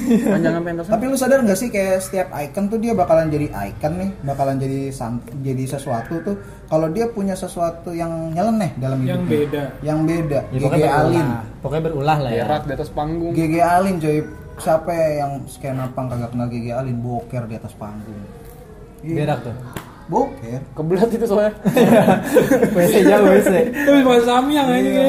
Panjangan pentas seni.
Tapi lu sadar nggak sih kayak setiap icon tuh dia bakalan jadi icon nih, bakalan jadi sam- jadi sesuatu tuh kalau dia punya sesuatu yang nyeleneh dalam
yang
hidupnya.
beda
Yang beda.
Ya,
GG Alin.
pokoknya berulah lah ya
Berak di atas panggung.
GG Alin coy. Siapa yang skena pang kagak kenal GG Alin boker di atas panggung. Iya.
berak tuh
Boker.
Kebelat itu soalnya.
WC jauh WC
tapi bukan samyang anjir
GG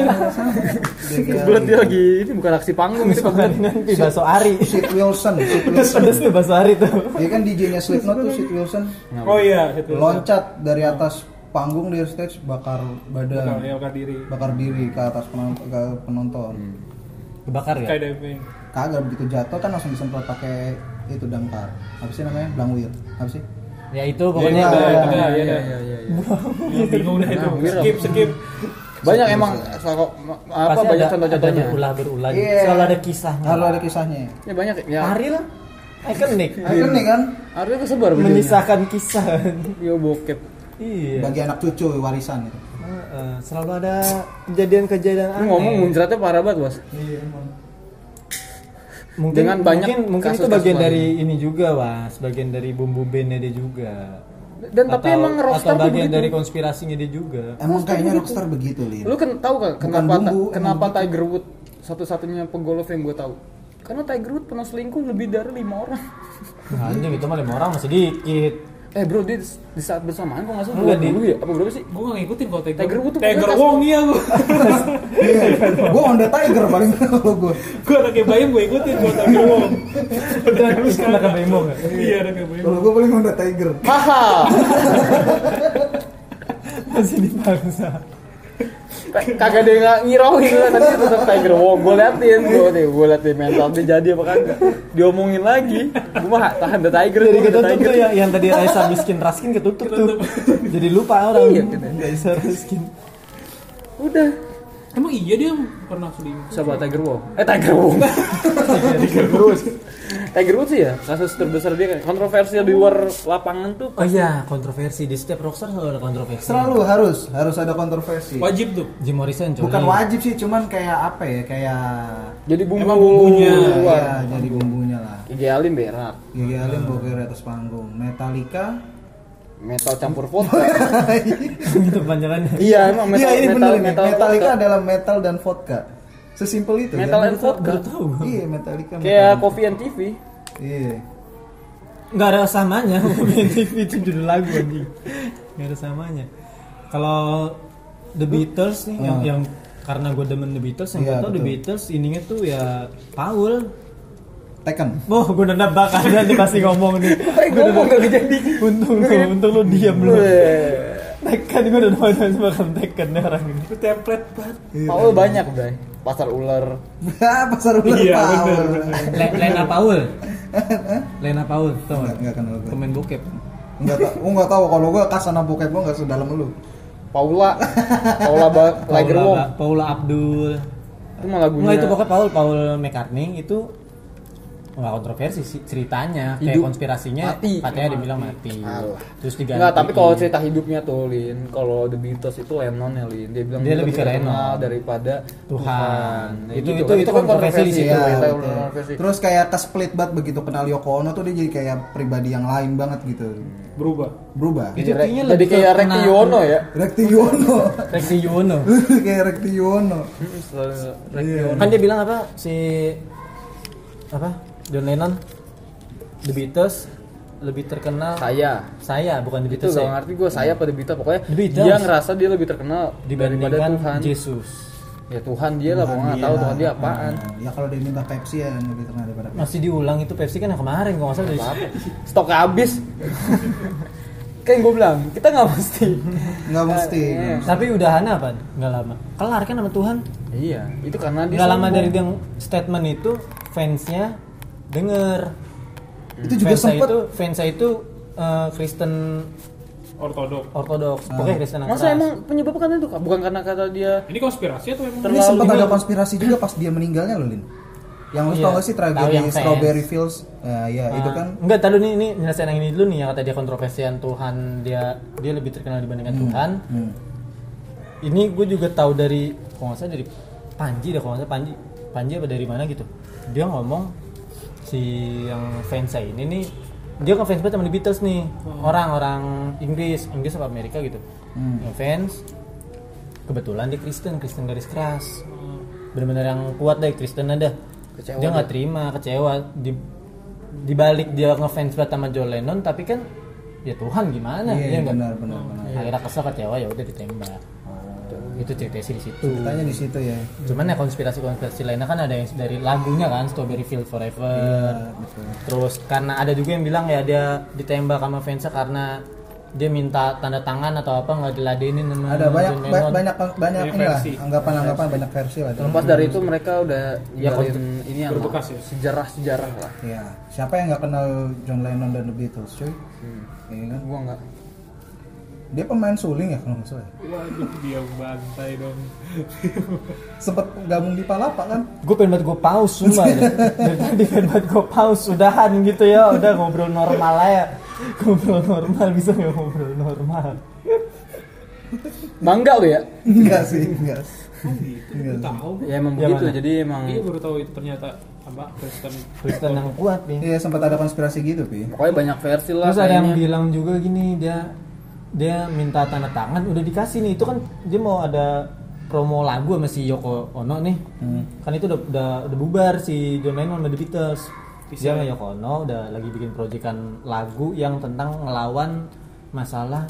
Kebelat dia
Alin.
lagi ini bukan aksi panggung itu kebelat.
kemarin nanti bakso ari
Sid Wilson, Sid Wilson.
pedes-pedes tuh bakso ari tuh
Dia kan DJ-nya Slipknot tuh Sid Wilson.
oh iya itu
Loncat dari atas panggung di stage bakar badan.
bakar ya, bakar diri
bakar diri ke atas penonton, ke penonton.
Hmm. kebakar ya
kayak diving
Kagak begitu jatuh kan langsung disemprot pakai itu damkar. Apa sih namanya? Blangwir. Apa sih?
ya itu
pokoknya
pokoknya
Iya, iya,
ada ada
Iya
ada
iya iya. iya.
Ya, bingung dah itu
Nah, Wira.
skip skip
banyak emang sako- ma- apa banyak
pasti ada, ada
contoh-contohnya
berulah berulah
Iya.
selalu ada kisahnya Iya.
Kalau ada kisahnya.
ya banyak ya
Ari lah ikonik
Akhirnya nih kan
Ari itu kesebar videonya
menisahkan kisah
yo bokep
iya
bagi anak cucu warisan itu.
Heeh, selalu ada kejadian-kejadian
ini
aneh.
ngomong muncratnya parah banget bos
Iya, emang.
mungkin,
dengan banyak
mungkin, mungkin itu
kasus-kasus
bagian
lain.
dari ini juga was bagian dari bumbu bandnya dia juga
dan tapi
Atau-
emang rockstar
atau
tuh
bagian
begitu
dari konspirasinya dia juga
Emang kayaknya rockstar begitu, Lin.
lu kan tahu gak kenapa ta-
bumbu,
kenapa
gitu.
Tiger Wood satu-satunya pegolf yang gue tahu karena Tiger Wood pernah selingkuh lebih dari lima orang
anjing itu mah lima orang masih dikit
eh bro dia di saat bersamaan kok nggak salah dua
Enggak, di-
puluh ya apa berapa sih
gue gak ngikutin kalau Tiger
Tiger Wood tuh
Tiger
pokoknya
Wong iya gue
Iya. Gua on the tiger paling kalau gua.
gue anaknya bayam gue ikutin gue Tiger Wong
udah kena kebemo nggak?
iya anaknya bayam
Kalau gua paling on the tiger.
haha
masih dipaksa
K- kagak ada yang nggak ngirauin lah tadi tetap Tiger Wong gue liatin gue deh gue liatin mental dia jadi apa kagak diomongin lagi gue mah tahan the Tiger
jadi
gua, the
ketutup
Tiger.
tuh ya? yang, yang tadi Raisa miskin Raskin ketutup tuh jadi lupa orang
Iya, gitu.
Raisa Raskin
udah
emang iya dia pernah selingkuh
Siapa Tiger Wong? Eh Tiger Wong. Tiger Woods. Tiger Woods sih ya kasus terbesar dia kan kontroversial di luar lapangan tuh.
oh iya kontroversi di setiap rockstar selalu ada kontroversi
Selalu harus harus ada kontroversi.
wajib tuh
Jim Morrison coy.
Bukan wajib sih, cuman kayak apa ya? Kayak
Jadi bumbu
Emang bumbunya, Iya.
luar.
ya, jadi bumbunya lah.
Idealin berak.
Gigi Allen boker di atas panggung. Metallica
Metal campur vodka.
itu panjangannya
iya emang metal
Iya ini
metal
bener nih.
metal
Metallica
Iya.
vodka.
adalah metal dan vodka. Sesimpel itu.
Metal
kan?
and vodka.
baru tahu gua.
Iya Metallica.
Kayak
metal.
Coffee and TV.
Iya.
nggak ada samanya BNTV itu judul lagu anjing nggak ada samanya kalau The Beatles nih yang,
Ah.
yang karena gue demen The Beatles yang
Iya,
gue tau The
betul.
Beatles ininya tuh ya Paul
Tekken.
Oh, gue udah nebak ada nih pasti ngomong nih.
Eh gue ngomong Iya, gak kejadian.
Untung lu, untung lu diam lu.
Weh.
Tekken gue udah nebak nebak Tekken nih orang ini.
itu template banget
Iya,
Paul banyak bray. Pasar ular.
Ah, Pasar ular
Iya,
Paul.
bener, bener.
Le- Lena Paul. Lena Paul,
Nggak,
tau nggak?
nggak kenal gue.
Pemain bokep.
Nggak tau. Oh nggak tahu kalau gue kasana bokep gue nggak sedalam lu.
Paula. Paula ba- Tiger
Paula,
Wong.
Paula Abdul.
Itu mah lagunya.
Iya. Enggak itu pokoknya Paul Paul McCartney itu nggak kontroversi sih ceritanya kayak
Hidup.
konspirasinya
Mati.
katanya dia bilang mati
Alah.
terus diganti
Enggak, tapi
Iya.
kalau cerita hidupnya tuh Lin, kalau The Beatles itu Lennon ya Lin. Dia bilang
Dia lebih ke
terkenal
Lennon.
daripada
Tuhan.
Ya
Itu-
gitu
itu- itu kontroversi di situ,
ya,
Iya,
itu
betul.
kontroversi.
Terus kayak ke split banget begitu kenal Yoko Ono tuh dia jadi kayak pribadi yang lain banget gitu.
berubah
Berubah.
Itu
Jadi-
kayaknya
jadi
lebih
kayak
ke
Rekti
kena-
Yono ya.
Rekti Yono.
Reksi Yuwono
kayak Rekti Yono. Iya.
kan dia bilang apa si apa John Lennon The Beatles lebih terkenal
Saya
saya ya. bukan The
itu
Beatles
gak
saya.
ngerti gue saya pada Beatles pokoknya
The Beatles.
dia ngerasa dia lebih terkenal daripada Tuhan
dibandingkan Yesus
ya Tuhan dia lah pokoknya nggak tahu Tuhan dia apaan
Ya kalau dia minta Pepsi ya lebih terkenal daripada Pepsi.
masih diulang itu Pepsi kan yang kemarin kalau nggak salah dari
stoknya habis kan gue bilang kita nggak mesti
Nggak mesti.
Iya.
tapi udahannya apa nggak lama kelar kan sama Tuhan
iya itu karena dia
nggak lama
sombong.
dari dia ng- statement itu fansnya denger
Itu juga
fansnya
sempet.
itu fansnya itu eh, Kristen
ortodok
Ortodoks
Ah.
pokoknya Kristen yang
masa
keras.
emang penyebabnya karena itu Kak? bukan karena kata dia
ini konspirasi atau emang
Ini
terlalu
sempat ada
ini-
konspirasi juga pas dia meninggalnya loh Lin. Yang lu
Iya.
tau gak sih
Tahu yang
tragedi
fans.
Strawberry Fields? Eh, ya itu
Ah,
kan
enggak tahu nih ini nyelesain yang ini dulu nih yang kata dia kontroversian Tuhan dia dia lebih terkenal dibandingkan Tuhan
hmm,
ini gue juga tahu dari kalau nggak salah dari Panji deh kalau nggak salah Panji Panji apa dari mana gitu dia ngomong si yang fans saya ini nih dia kan fans banget sama The Beatles nih
Hmm.
orang-orang Inggris Inggris apa Amerika gitu yang fans kebetulan dia Kristen Kristen garis keras
Hmm.
bener-bener yang kuat deh Kristen ada
Kecewa
dia nggak terima kecewa di dibalik dia ngefans banget sama John Lennon tapi kan ya Tuhan
Iya,
gimana dia nggak-
benar benar benar.
akhirnya kesel kecewa ya udah ditembak Gitu. itu ceritanya sih di situ
Tanya di situ ya.
cuman ya konspirasi konspirasi lainnya kan ada yang dari lagunya kan Strawberry Field Forever
Iya, betul.
terus karena ada juga yang bilang ya dia ditembak sama fansnya karena dia minta tanda tangan atau apa nggak diladenin sama
Ada banyak ba-
John Lennon.
banyak banyak
Banyak
inilah
versi.
anggapan-anggapan banyak versi lah.
lepas dari itu mereka udah
Ya,
ninggalin
kon-
ini yang
berbekas ya.
sejarah-sejarah lah
Iya, siapa yang nggak kenal John Lennon dan The Beatles, cuy? Iya kan?
Hmm. gua nggak
Dia pemain suling ya kalau nggak salah.
waduh dia bantai dong
Sempet gabung di Palapa kan?
gue pengen banget gue paus semua dari tadi pengen banget gue paus udahan gitu ya udah ngobrol normal aja ngobrol normal bisa nggak ngobrol normal
bangga lu ya
Enggak sih, enggak.
Kan
oh gitu Gua tahu
ya emang
Ya,
begitu
mana?
jadi emang
Iya baru tahu itu ternyata apa Kristen
Kristen yang kuat nih
Iya, sempat ada konspirasi gitu, Pi.
pokoknya banyak versi lah
Terus ada yang
kayaknya.
bilang juga gini dia dia minta tanda tangan udah dikasih nih itu kan dia mau ada promo lagu sama si Yoko Ono nih
Hmm.
kan itu udah udah, udah bubar si John Lennon sama The Beatles
ya?
dia sama Yoko Ono udah lagi bikin proyekan lagu yang tentang ngelawan masalah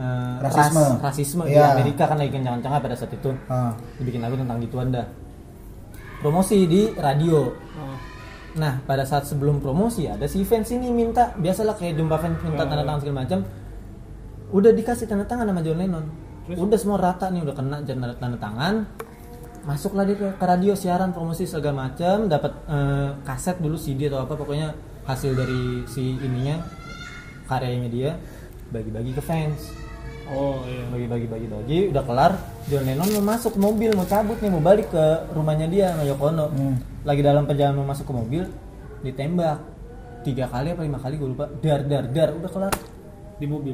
eh,
Rasisme.
ras- rasisme di
Iya.
Amerika kan lagi kencang-kencangnya pada saat itu
Ah,
dibikin lagu tentang gituan dah promosi di radio
Oh,
Nah, pada saat sebelum promosi ada si fans ini minta, biasalah kayak Dumba fans minta tanda tangan segala macam. Udah dikasih tanda tangan sama John Lennon. Udah semua rata nih, udah kena tanda, tanda tangan. Masuklah dia ke, ke radio siaran promosi segala macam, dapat eh, kaset dulu CD atau apa pokoknya hasil dari si ininya karyanya dia bagi-bagi ke fans
oh iya
bagi bagi bagi bagi udah kelar John Lennon mau masuk ke mobil mau cabut nih mau balik ke rumahnya dia sama Yoko Ono
Hmm.
lagi dalam perjalanan mau masuk ke mobil ditembak tiga kali apa lima kali gue lupa dar dar dar udah kelar
di mobil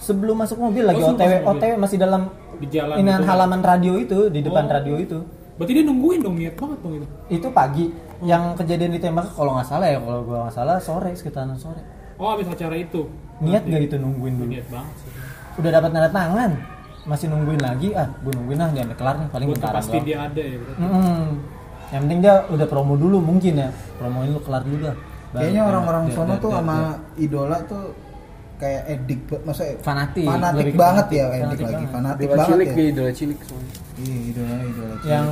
sebelum masuk mobil lagi
Oh, sebelum
otw
masuk mobil.
otw masih dalam
di jalan
inian
gitu.
halaman radio itu di depan
Oh.
radio itu
berarti dia nungguin dong niat banget dong itu
itu pagi yang kejadian ditembak kalau nggak salah ya kalau gue nggak salah sore sekitaran sore
oh habis acara itu
niat gitu? gak itu nungguin dulu
niat banget sih
udah dapat tanda tangan masih nungguin lagi ah gue nungguin ah jangan kelar nih paling
buat
bentaran
pasti
doang
dia ada ya berarti
Mm-mm. Yang penting dia udah promo dulu mungkin ya. Promoin lu kelar dulu dah. Baru
kayaknya
dia-
orang-orang
dia-
sono
dia-
tuh
dia-
sama
dia-
idola tuh kayak edik, ba- maksudnya
Fanatik,
fanatik
lebih ke
banget
fanatik,
ya edik
fanatik
lagi,
banget.
fanatik
idola
banget
cilik gitu.
ya.
dia idola cilik soalnya.
Iya, idola idola. cilik.
yang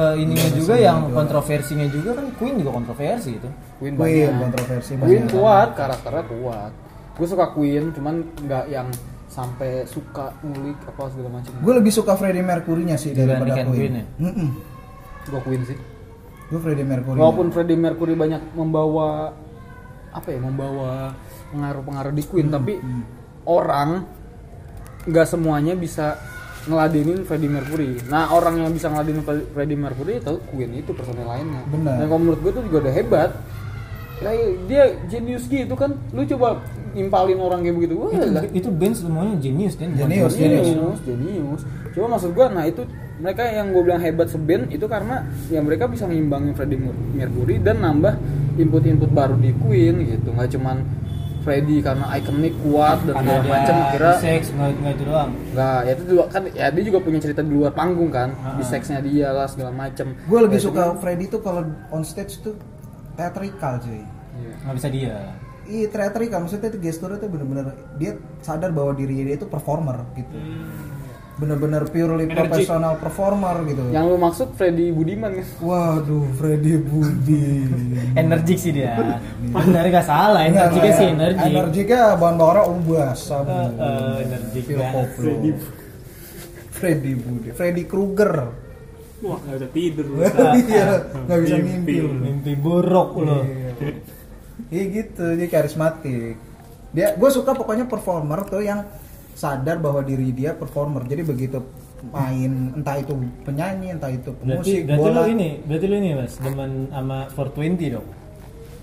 ke ininya
Iya,
juga
sama
yang
idola.
kontroversinya juga kan Queen juga kontroversi itu.
Queen
Wih,
banyak
kontroversi
Queen
banyak.
kuat karakternya kuat gue suka Queen cuman nggak yang sampai suka ngulik apa segala macam
Gue lebih suka Freddie Mercury-nya sih daripada
Dibandingkan
Queen.
Queen ya?
Mm-mm.
gue Queen sih
Gue Freddie Mercury.
walaupun Freddie Mercury banyak membawa apa ya membawa pengaruh-pengaruh di Queen tapi orang nggak semuanya bisa ngeladenin Freddie Mercury. Nah orang yang bisa ngeladenin Fre- Freddie Mercury tahu Queen itu personil lainnya.
Benar.
Dan kalau menurut gue itu juga udah hebat. kayak dia genius gitu kan lu coba impalin orang kayak begitu wah
itu,
lah
itu band semuanya genius kan bukan
Iya. Genius,
cuma-
genius.
genius genius Iya, cuma maksud gua nah itu mereka yang gue bilang hebat seben itu karena ya mereka bisa ngimbangin Freddie Mer- Mercury dan nambah input-input baru di Queen gitu nggak cuman Freddie karena ikonik kuat dan
karena
segala
dia
macam akhirnya
seks nggak nggak itu doang
nggak ya itu juga kan ya dia juga punya cerita di luar panggung kan di seksnya dia lah segala macam
Gue lebih
Ya,
suka Freddy tuh kalau on stage tuh theatrical cuy.
iya.
nggak bisa dia
Iya theatrical maksudnya itu gesturnya tuh bener-bener dia sadar bahwa dirinya dia itu performer gitu.
Hmm.
Bener-bener purely
Energi.
professional performer gitu.
yang lu maksud Freddy Budiman kan
Waduh, Freddy Budi.
energik sih dia benar nggak salah
Iya,
energiknya Nah, sih energik
Energiknya bahan bara ubas sama.
Eh, eh, energik
Phil
banget.
Koplo. Freddy Budi, Freddy Krueger.
Wah, nggak bisa tidur. lu.
Iya, nggak bisa mimpi. lu.
mimpi buruk loh
Iya. Iya gitu, dia karismatik. Dia, gue suka pokoknya performer tuh yang sadar bahwa diri dia performer. Jadi begitu main, entah itu penyanyi, entah itu
berarti
pemusik,
berarti
bola.
lu ini berarti lu ini mas demen sama 420 dong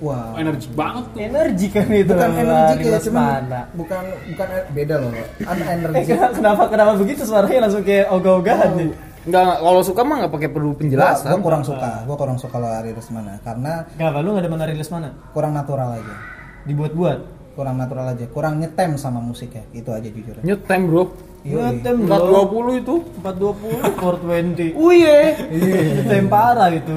Wah,
Wah, Energik banget tuh.
energi kan itu
bukan
Mas,
energik ya,
Mas
cuman
Mana.
bukan bukan e- beda loh. An
eh
energi.
kenapa, kenapa kenapa begitu suaranya langsung kayak ogah-ogahan nih
nggak nggak, kalau suka mah nggak pakai perlu penjelasan
Gue kurang suka, gue kurang suka kalau Aries mana, karena
Gak apa, lu gak demen rilis mana?
kurang natural aja,
Dibuat-buat?
kurang natural aja, kurang nyetem sama musiknya, itu aja jujurnya.
new time bro
Iya,
Yoi.
Ngetem dong
420 itu
420, 420
oh iya
Ngetem parah itu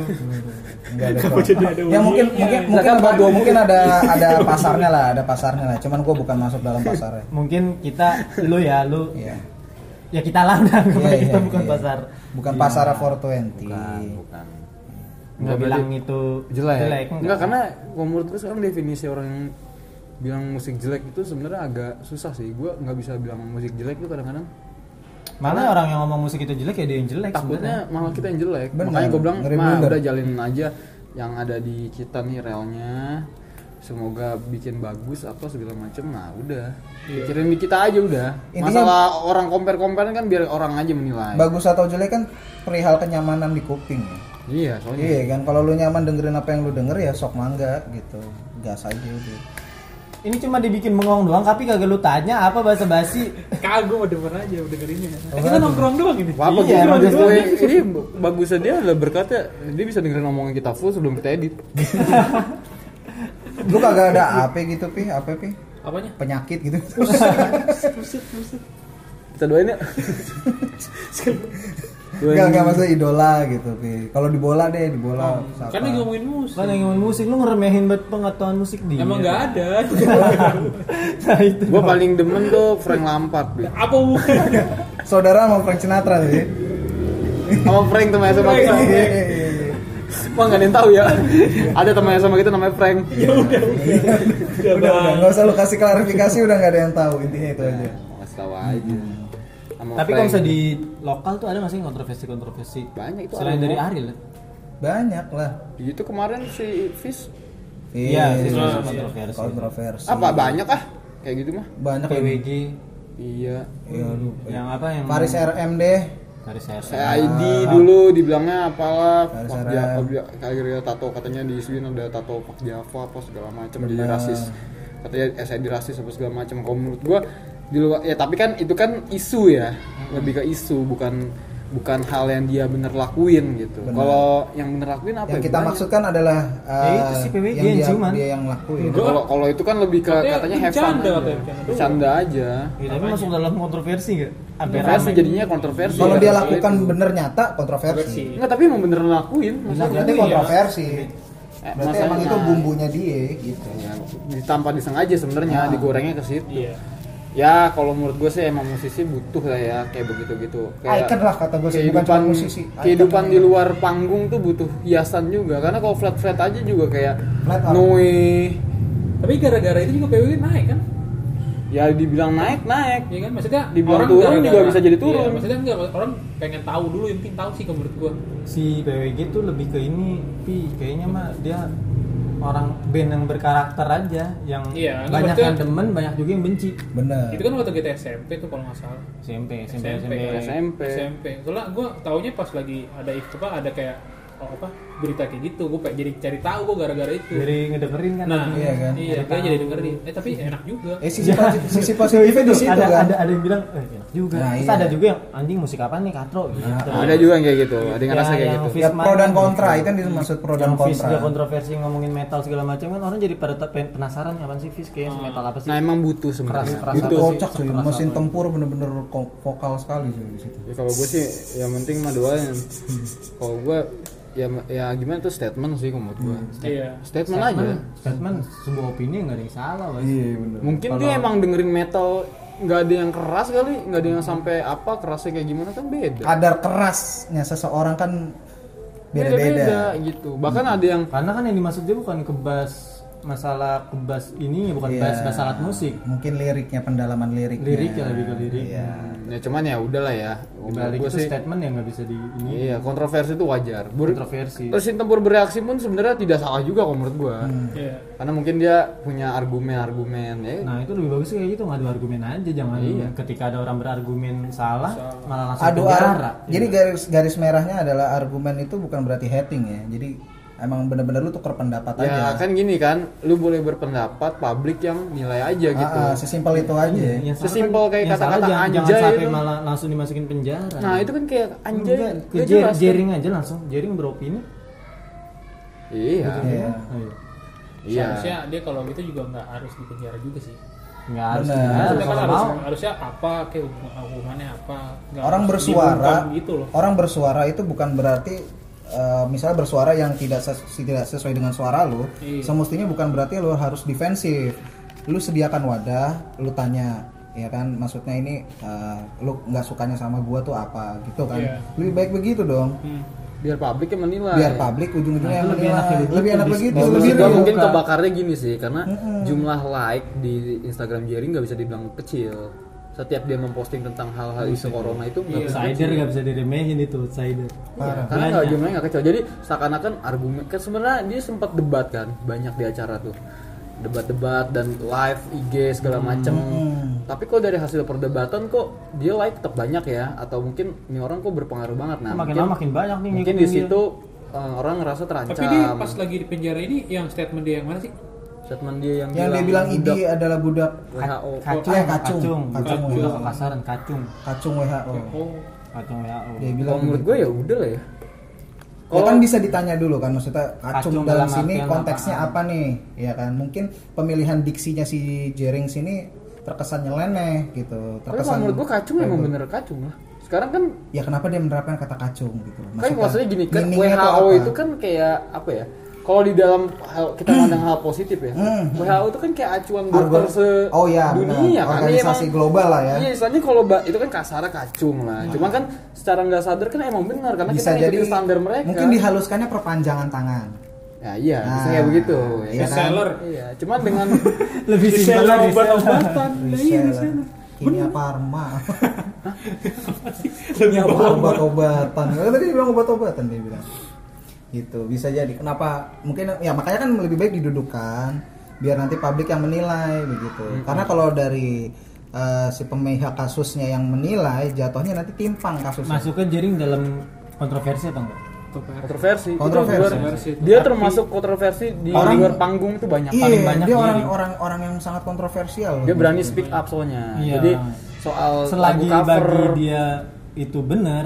Nggak ada
Kenapa
kurang.
jadi ada
ya mungkin
bunyinya?
mungkin mungkin ada mungkin ada ada pasarnya lah ada pasarnya lah cuman gue bukan masuk dalam pasarnya
Mungkin kita, lu ya, lu
Iya.
Ya kita lah, udah
Iya, iya,
kita bukan
iya.
pasar
bukan
Iya.
pasar 420
bukan bukan
Nggak bilang itu
jelek,
enggak.
enggak karena kalau menurut gue sekarang definisi orang yang bilang musik jelek itu sebenarnya agak susah sih gue nggak bisa bilang musik jelek itu kadang-kadang
Malah orang yang ngomong musik itu jelek ya dia yang jelek
takutnya malah kita yang jelek
Benar,
makanya gue bilang
ngeri
mah
bener."
udah jalinin aja yang ada di kita nih realnya semoga bikin bagus apa segala macem nah udah
Iya.
pikirin di kita aja udah
Intinya-
masalah orang compare compare kan biar orang aja menilai
bagus atau jelek kan perihal kenyamanan di kuping ya.
iya
Oh,
soalnya
iya kan kalau lu nyaman dengerin apa yang lu denger ya sok mangga gitu gas aja udah
Ini cuma dibikin bengong doang, tapi kagak lu tanya apa bahasa basi
Kagak mau denger aja udah dengerinnya. Eh, kita nongkrong doang ini.
Wah, apa
Iya,
gitu
emang
maksud
gitu.
gue ini bagusnya dia adalah berkatnya dia bisa dengerin omongan kita full sebelum kita edit
lu kagak ada apa gitu pi apa pi
Apanya?
penyakit gitu
Buset, buset.
kita doain ya Doain.
Gak, gak maksudnya idola gitu Pi Kalau di bola deh, di
Oh,
bola siapa?
Kan lagi ngomongin musik.
Kan yang ngomong musik, lu ngeremehin banget pengetahuan musik dia
Emang nggak ada.
Nah itu
gue paling demen tuh Frank Lampard Bi.
Apa
Iya.
bukan?
Saudara sama Frank Sinatra sih
sama Frank temannya sama kita
Iya, iya, iya, iya.
Wah nggak ada yang tahu ya ada temannya sama kita namanya Frank
Ya
Udah,
udah udah
Bang.
nggak usah lu kasih klarifikasi udah nggak ada yang tahu intinya itu aja
Nggak tahu
Iya.
aja Sama
Tapi kalau
Frank.
misalnya di lokal tuh ada nggak sih kontroversi-kontroversi?
Banyak itu
Selain
ada.
dari Ariel ya?
banyak lah
itu kemarin si Fis
Iya, itu
iya.
kontroversi.
kontroversi
apa banyak ah kayak gitu mah
banyak lagi
PWG
iya
ya lu
yang apa yang
Paris RM deh
Paris RR.
saya ID dulu dibilangnya apalah
Harus
Pak
Ah. ada-
Java akhirnya tato katanya di Swin ada tato Pak Java apa segala macam jadi
Benar.
rasis katanya eh, saya di rasis apa segala macam kalau menurut gua di luar ya tapi kan itu kan isu ya
Hmm.
lebih ke isu bukan bukan hal yang dia bener lakuin gitu
Benar.
kalau yang bener lakuin apa
yang
ya?
kita
Banyak.
maksudkan adalah uh,
Ya, itu sih PWG,
yang dia,
ciuman. Iya.
dia yang lakuin
Gitu, kalau kalau itu kan lebih ke
Katanya
katanya have fun
bercanda
aja.
katanya, bercanda doang.
bercanda aja
Ya, tapi masuk dalam kontroversi nggak? Hampir
kontroversi
rame.
jadinya kontroversi ya,
kalau dia
Iya.
soal
lakukan
itu.
bener nyata kontroversi
Enggak, tapi emang bener lakuin maksudnya
berarti
Iya.
kontroversi
Eh,
berarti
masalahnya-
emang itu bumbunya dia gitu
Ya, di- tanpa disengaja sebenarnya
Ah.
digorengnya ke situ
Iya.
ya kalau menurut gue sih emang musisi butuh lah ya kayak begitu gitu kayak
Icon lah kata gue sih, bukan
kehidupan
cuma musisi. Icon. ya.
kehidupan di luar panggung tuh butuh hiasan juga karena kalau flat flat aja juga kayak
Flat out.
Nui
Tapi gara-gara itu juga PWG naik kan?
ya dibilang naik naik
Ya kan maksudnya
Dibilang turun juga bisa jadi turun.
Iya, maksudnya enggak orang pengen tahu dulu yang penting tahu sih kalau menurut gua.
Si PWG tuh lebih ke ini, pi kayaknya mah dia orang band yang berkarakter aja, yang
Iya,
banyak
maksudnya-
yang demen, banyak juga yang benci.
bener
Iya.
Itu kan waktu kita SMP tuh kalau nggak salah.
SMP, SMP, SMP.
SMP.
SMP
SMP. Soalnya gua taunya pas lagi ada itu apa ada kayak oh, apa berita kayak gitu gue pengen jadi cari tahu gue gara-gara itu
dari ngedengerin kan
nah
Iya
iya
kan?
kan iya akhirnya jadi dengerin eh tapi enak juga
Eh sisi positif, sisi positifnya di
tuh,
situ
ada,
kan.
ada ada yang bilang eh, enak juga
Nah,
terus
iya. Nah,
ada juga yang anjing musik apa nih katro gitu
ada juga yang kayak gitu ada yang ngerasa kayak gitu
Ah. Ya, pro dan kontra, itu kan dimaksud pro dan
yang Fis
kontra.
dia kontroversi ngomongin metal segala macam kan orang jadi pada te- pengen penasaran ya sih Fis kayak metal apa sih
nah emang butuh
keras
sebenarnya
keras
Itu
apa
kocak cuy, mesin tempur bener-bener ko- vokal sekali cuy di situ.
ya kalau gue sih yang penting mah doain
Hmm.
kalau gue ya ya gimana tuh statement sih kalau menurut gue
iya
statement, aja
statement statement sebuah opini nggak ada yang salah Bas.
Iya bener.
mungkin dia emang dengerin metal nggak ada yang keras kali nggak ada yang sampai apa kerasnya kayak gimana kan beda
Kadar kerasnya seseorang kan beda-beda. Iya.
gitu bahkan ada yang
karena kan yang dimaksud dia bukan kebas masalah kebas ini ya bukan
Iya.
bass bass alat musik
Mungkin liriknya pendalaman liriknya.
lirik ya lebih ke lirik
Iya.
ya cuman ya udahlah ya
balik
gue
itu
sih
statement yang nggak bisa di ini
iya kontroversi itu wajar Ber-
kontroversi
mesin tempur bereaksi pun sebenarnya tidak salah juga kalau menurut gue
iya
karena mungkin dia punya argumen-argumen ya
nah itu lebih bagus sih kayak gitu ngadu argumen aja jangan
Iya.
ketika ada orang berargumen salah malah langsung
Adu
penjara Iya.
ar- Jadi garis garis merahnya adalah argumen itu bukan berarti hating ya. Jadi emang bener-bener lu tuker pendapat aja.
Ya kan gini kan, lu boleh berpendapat publik yang nilai aja gitu.
Ah, ah, sesimpel itu aja.
Iya,
Yang salah
Sesimpel
kan-
kayak
yang salah
kata-kata
jangan, jangan
anjay
sampai
itu.
malah langsung dimasukin penjara
Nah itu kan kayak anjay,
Enggak, ke
dia
jer-
jelas kan.
jering aja langsung jering beropini
Iya,
Iya.
Oh, iya.
iya.
harusnya dia kalau gitu juga nggak harus dipenjara juga sih
nggak harus
Benar.
nggak harus
Maksudnya kan
kalau
harus,
Ah, mau
harusnya apa kayak hubungan- hubungannya apa Nggak
orang
harus
bersuara
dibungkam gitu loh
orang bersuara itu bukan berarti eh, misalnya bersuara yang tidak ses- tidak sesuai dengan suara lu
Iya.
semestinya bukan berarti lu harus defensif lu sediakan wadah lu tanya ya kan maksudnya ini eh, lu nggak sukanya sama gua tuh apa gitu kan
Iya.
lebih baik begitu dong
Hmm.
biar publik yang menilai.
biar publik ujung-ujungnya yang
Nah, itu lebih
menilai.
enak begitu,
lebih enak
dis-
begitu
dis-
lebih
Menurut gua
real.
mungkin
Buka.
kebakarnya gini sih, karena jumlah like di Instagram Jerry nggak bisa dibilang kecil. Setiap dia memposting tentang hal-hal
Iya.
isu corona itu nggak bisa
Iya, outsider nggak bisa diremehin itu outsider
Nah,
Parah.
karena kalau jumlahnya nggak kecil jadi seakan-akan argumen kan sebenarnya dia sempat debat kan banyak di acara tuh debat-debat dan live IG segala macem tapi kok dari hasil perdebatan kok dia like tetap banyak ya atau mungkin ini orang kok berpengaruh banget nah
makin
mungkin,
lama makin banyak nih
mungkin
ngikutin gitu.
di
dia.
situ eh, orang ngerasa
tapi dia
terancam
pas lagi di penjara ini yang statement dia yang mana sih
statement dia yang, gitu.
yang dia bilang ID
budak
adalah budak
WHO
kacung
Eh, kacung.
kacung
Kacung.
kacung juga kekasaran kacung
kacung WHO
oh
kacung WHO
dia bilang gitu.
kalau menurut gue ya udah lah ya
Ya kan bisa ditanya dulu kan maksudnya kacung
Kacung
dalam
dalam
sini
artian
konteksnya apa nih ya kan mungkin pemilihan diksinya si Jering sini terkesan nyeleneh gitu
tapi kalau
terkesan gitu.
menurut gue kacung emang bener kacung lah sekarang kan
ya kenapa dia menerapkan kata kacung gitu loh.
kan maksudnya gini kan
meaningnya tuh
WHO
apa?
itu kan kayak apa ya kalau di dalam hal, kita pandang hal positif ya WHO itu kan kayak acuan dokter
Argo-
se
Hmm. oh ya
dunia kan Dia
organisasi
emang-
global lah ya Hmm.
Iya, soalnya kalau ba- itu kan kasar kacung lah. Cuma kan secara nggak sadar kan emang benar karena
bisa
kita
jadi
ngikutin standar mereka.
mungkin dihaluskannya perpanjangan tangan
Ya iya, bisa
Nah,
kayak begitu. Ya,
iya
kan?
kan?
seller
Iya, cuman dengan
lebih simpel
seller
lagi
obat-obatan Nah, iya
Reseller.
reseller
kimia farma
lebih
Wah, obat-obatan. Kan Tadi dia bilang obat-obatan dia bilang. Gitu, bisa jadi. Kenapa? Mungkin ya makanya kan lebih baik didudukan biar nanti publik yang menilai begitu. Karena kalau dari eh, si pemihak kasusnya yang menilai jatuhnya nanti timpang kasusnya.
masuknya jering dalam kontroversi apa enggak
kontroversi, itu
Kontroversi.
luar-
Kontroversi itu.
dia termasuk kontroversi di
Orang-
luar panggung itu banyak
Iya,
banyak
dia
dia
orang
nih.
orang orang yang sangat kontroversial.
Dia berani speak up soalnya.
Iya.
Jadi soal
selagi
lagu cover
bagi dia itu benar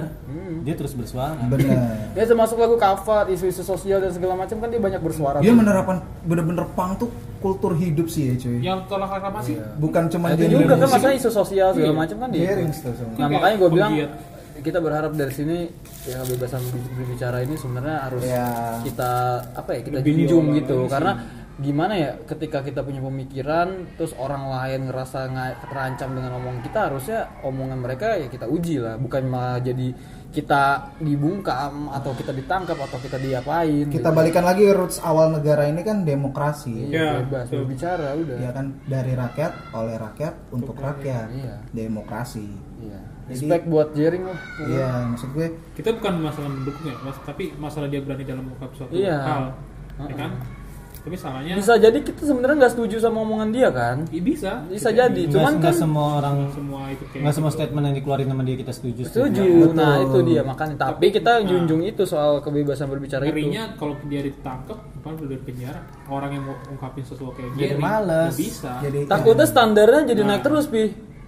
dia terus bersuara
Bener.
Ya termasuk lagu cover, isu-isu sosial dan segala macam kan dia banyak bersuara.
Dia
tuh.
menerapkan bener-bener pang tuh kultur hidup sih ya cuy.
yang tolak reklamasi
Bukan cuma
Nah, itu
genre
juga kan
musik.
masalah isu sosial
Iya.
segala macam kan dia.
Jerings Iya, tuh semua.
Nah
Kayak
makanya gue bilang
penggiat.
kita berharap dari sini ya kebebasan ber- berbicara ini sebenarnya harus
Ya.
kita apa ya kita
Lebih
junjung
diolah
gitu
lagi
karena gimana ya ketika kita punya pemikiran terus orang lain ngerasa nga- terancam dengan omongan kita harusnya omongan mereka ya kita uji lah bukan malah jadi kita dibungkam atau kita ditangkap atau kita diapain
Kita
gitu.
balikan lagi roots awal negara ini kan demokrasi.
Iya,
Ya,
bebas
betul.
berbicara udah
ya kan dari rakyat oleh rakyat untuk rakyat
Iya.
demokrasi
Iya.
Jadi-
Respect buat Jering lah.
iya maksud gue
kita bukan masalah mendukung ya mas tapi masalah dia berani dalam mengungkap suatu
Iya.
hal ya kan tapi salahnya bisa,
bisa jadi kita sebenarnya nggak setuju sama omongan dia kan
bisa.
bisa jadi
Nggak-
cuman
nggak
kan
semua orang
semua itu kayak
nggak semua statement yang dikeluarin sama dia kita setuju
setuju nah
Betul.
itu dia makanya tapi kita junjung itu soal kebebasan berbicara itu
Nah. Ngerinya kalau dia ditangkap, bukan udah dari penjara. Orang yang mau ungkapin sesuatu kayak
Jadi
gini,
males.
nggak bisa.
Jadi
takutnya standarnya jadi naik terus pi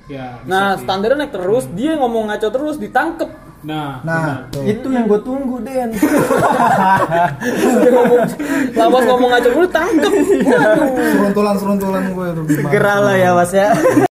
ya, bisa
nah
sih.
standarnya naik terus dia ngomong ngaco terus ditangkep
nah, benar.
Nah, tuh.
itu yang gue tunggu Den
Dia ngomong lawas ngomong ngaco dulu tangkep
Seruntulan-seruntulan gue tuh.
segera lah ya mas ya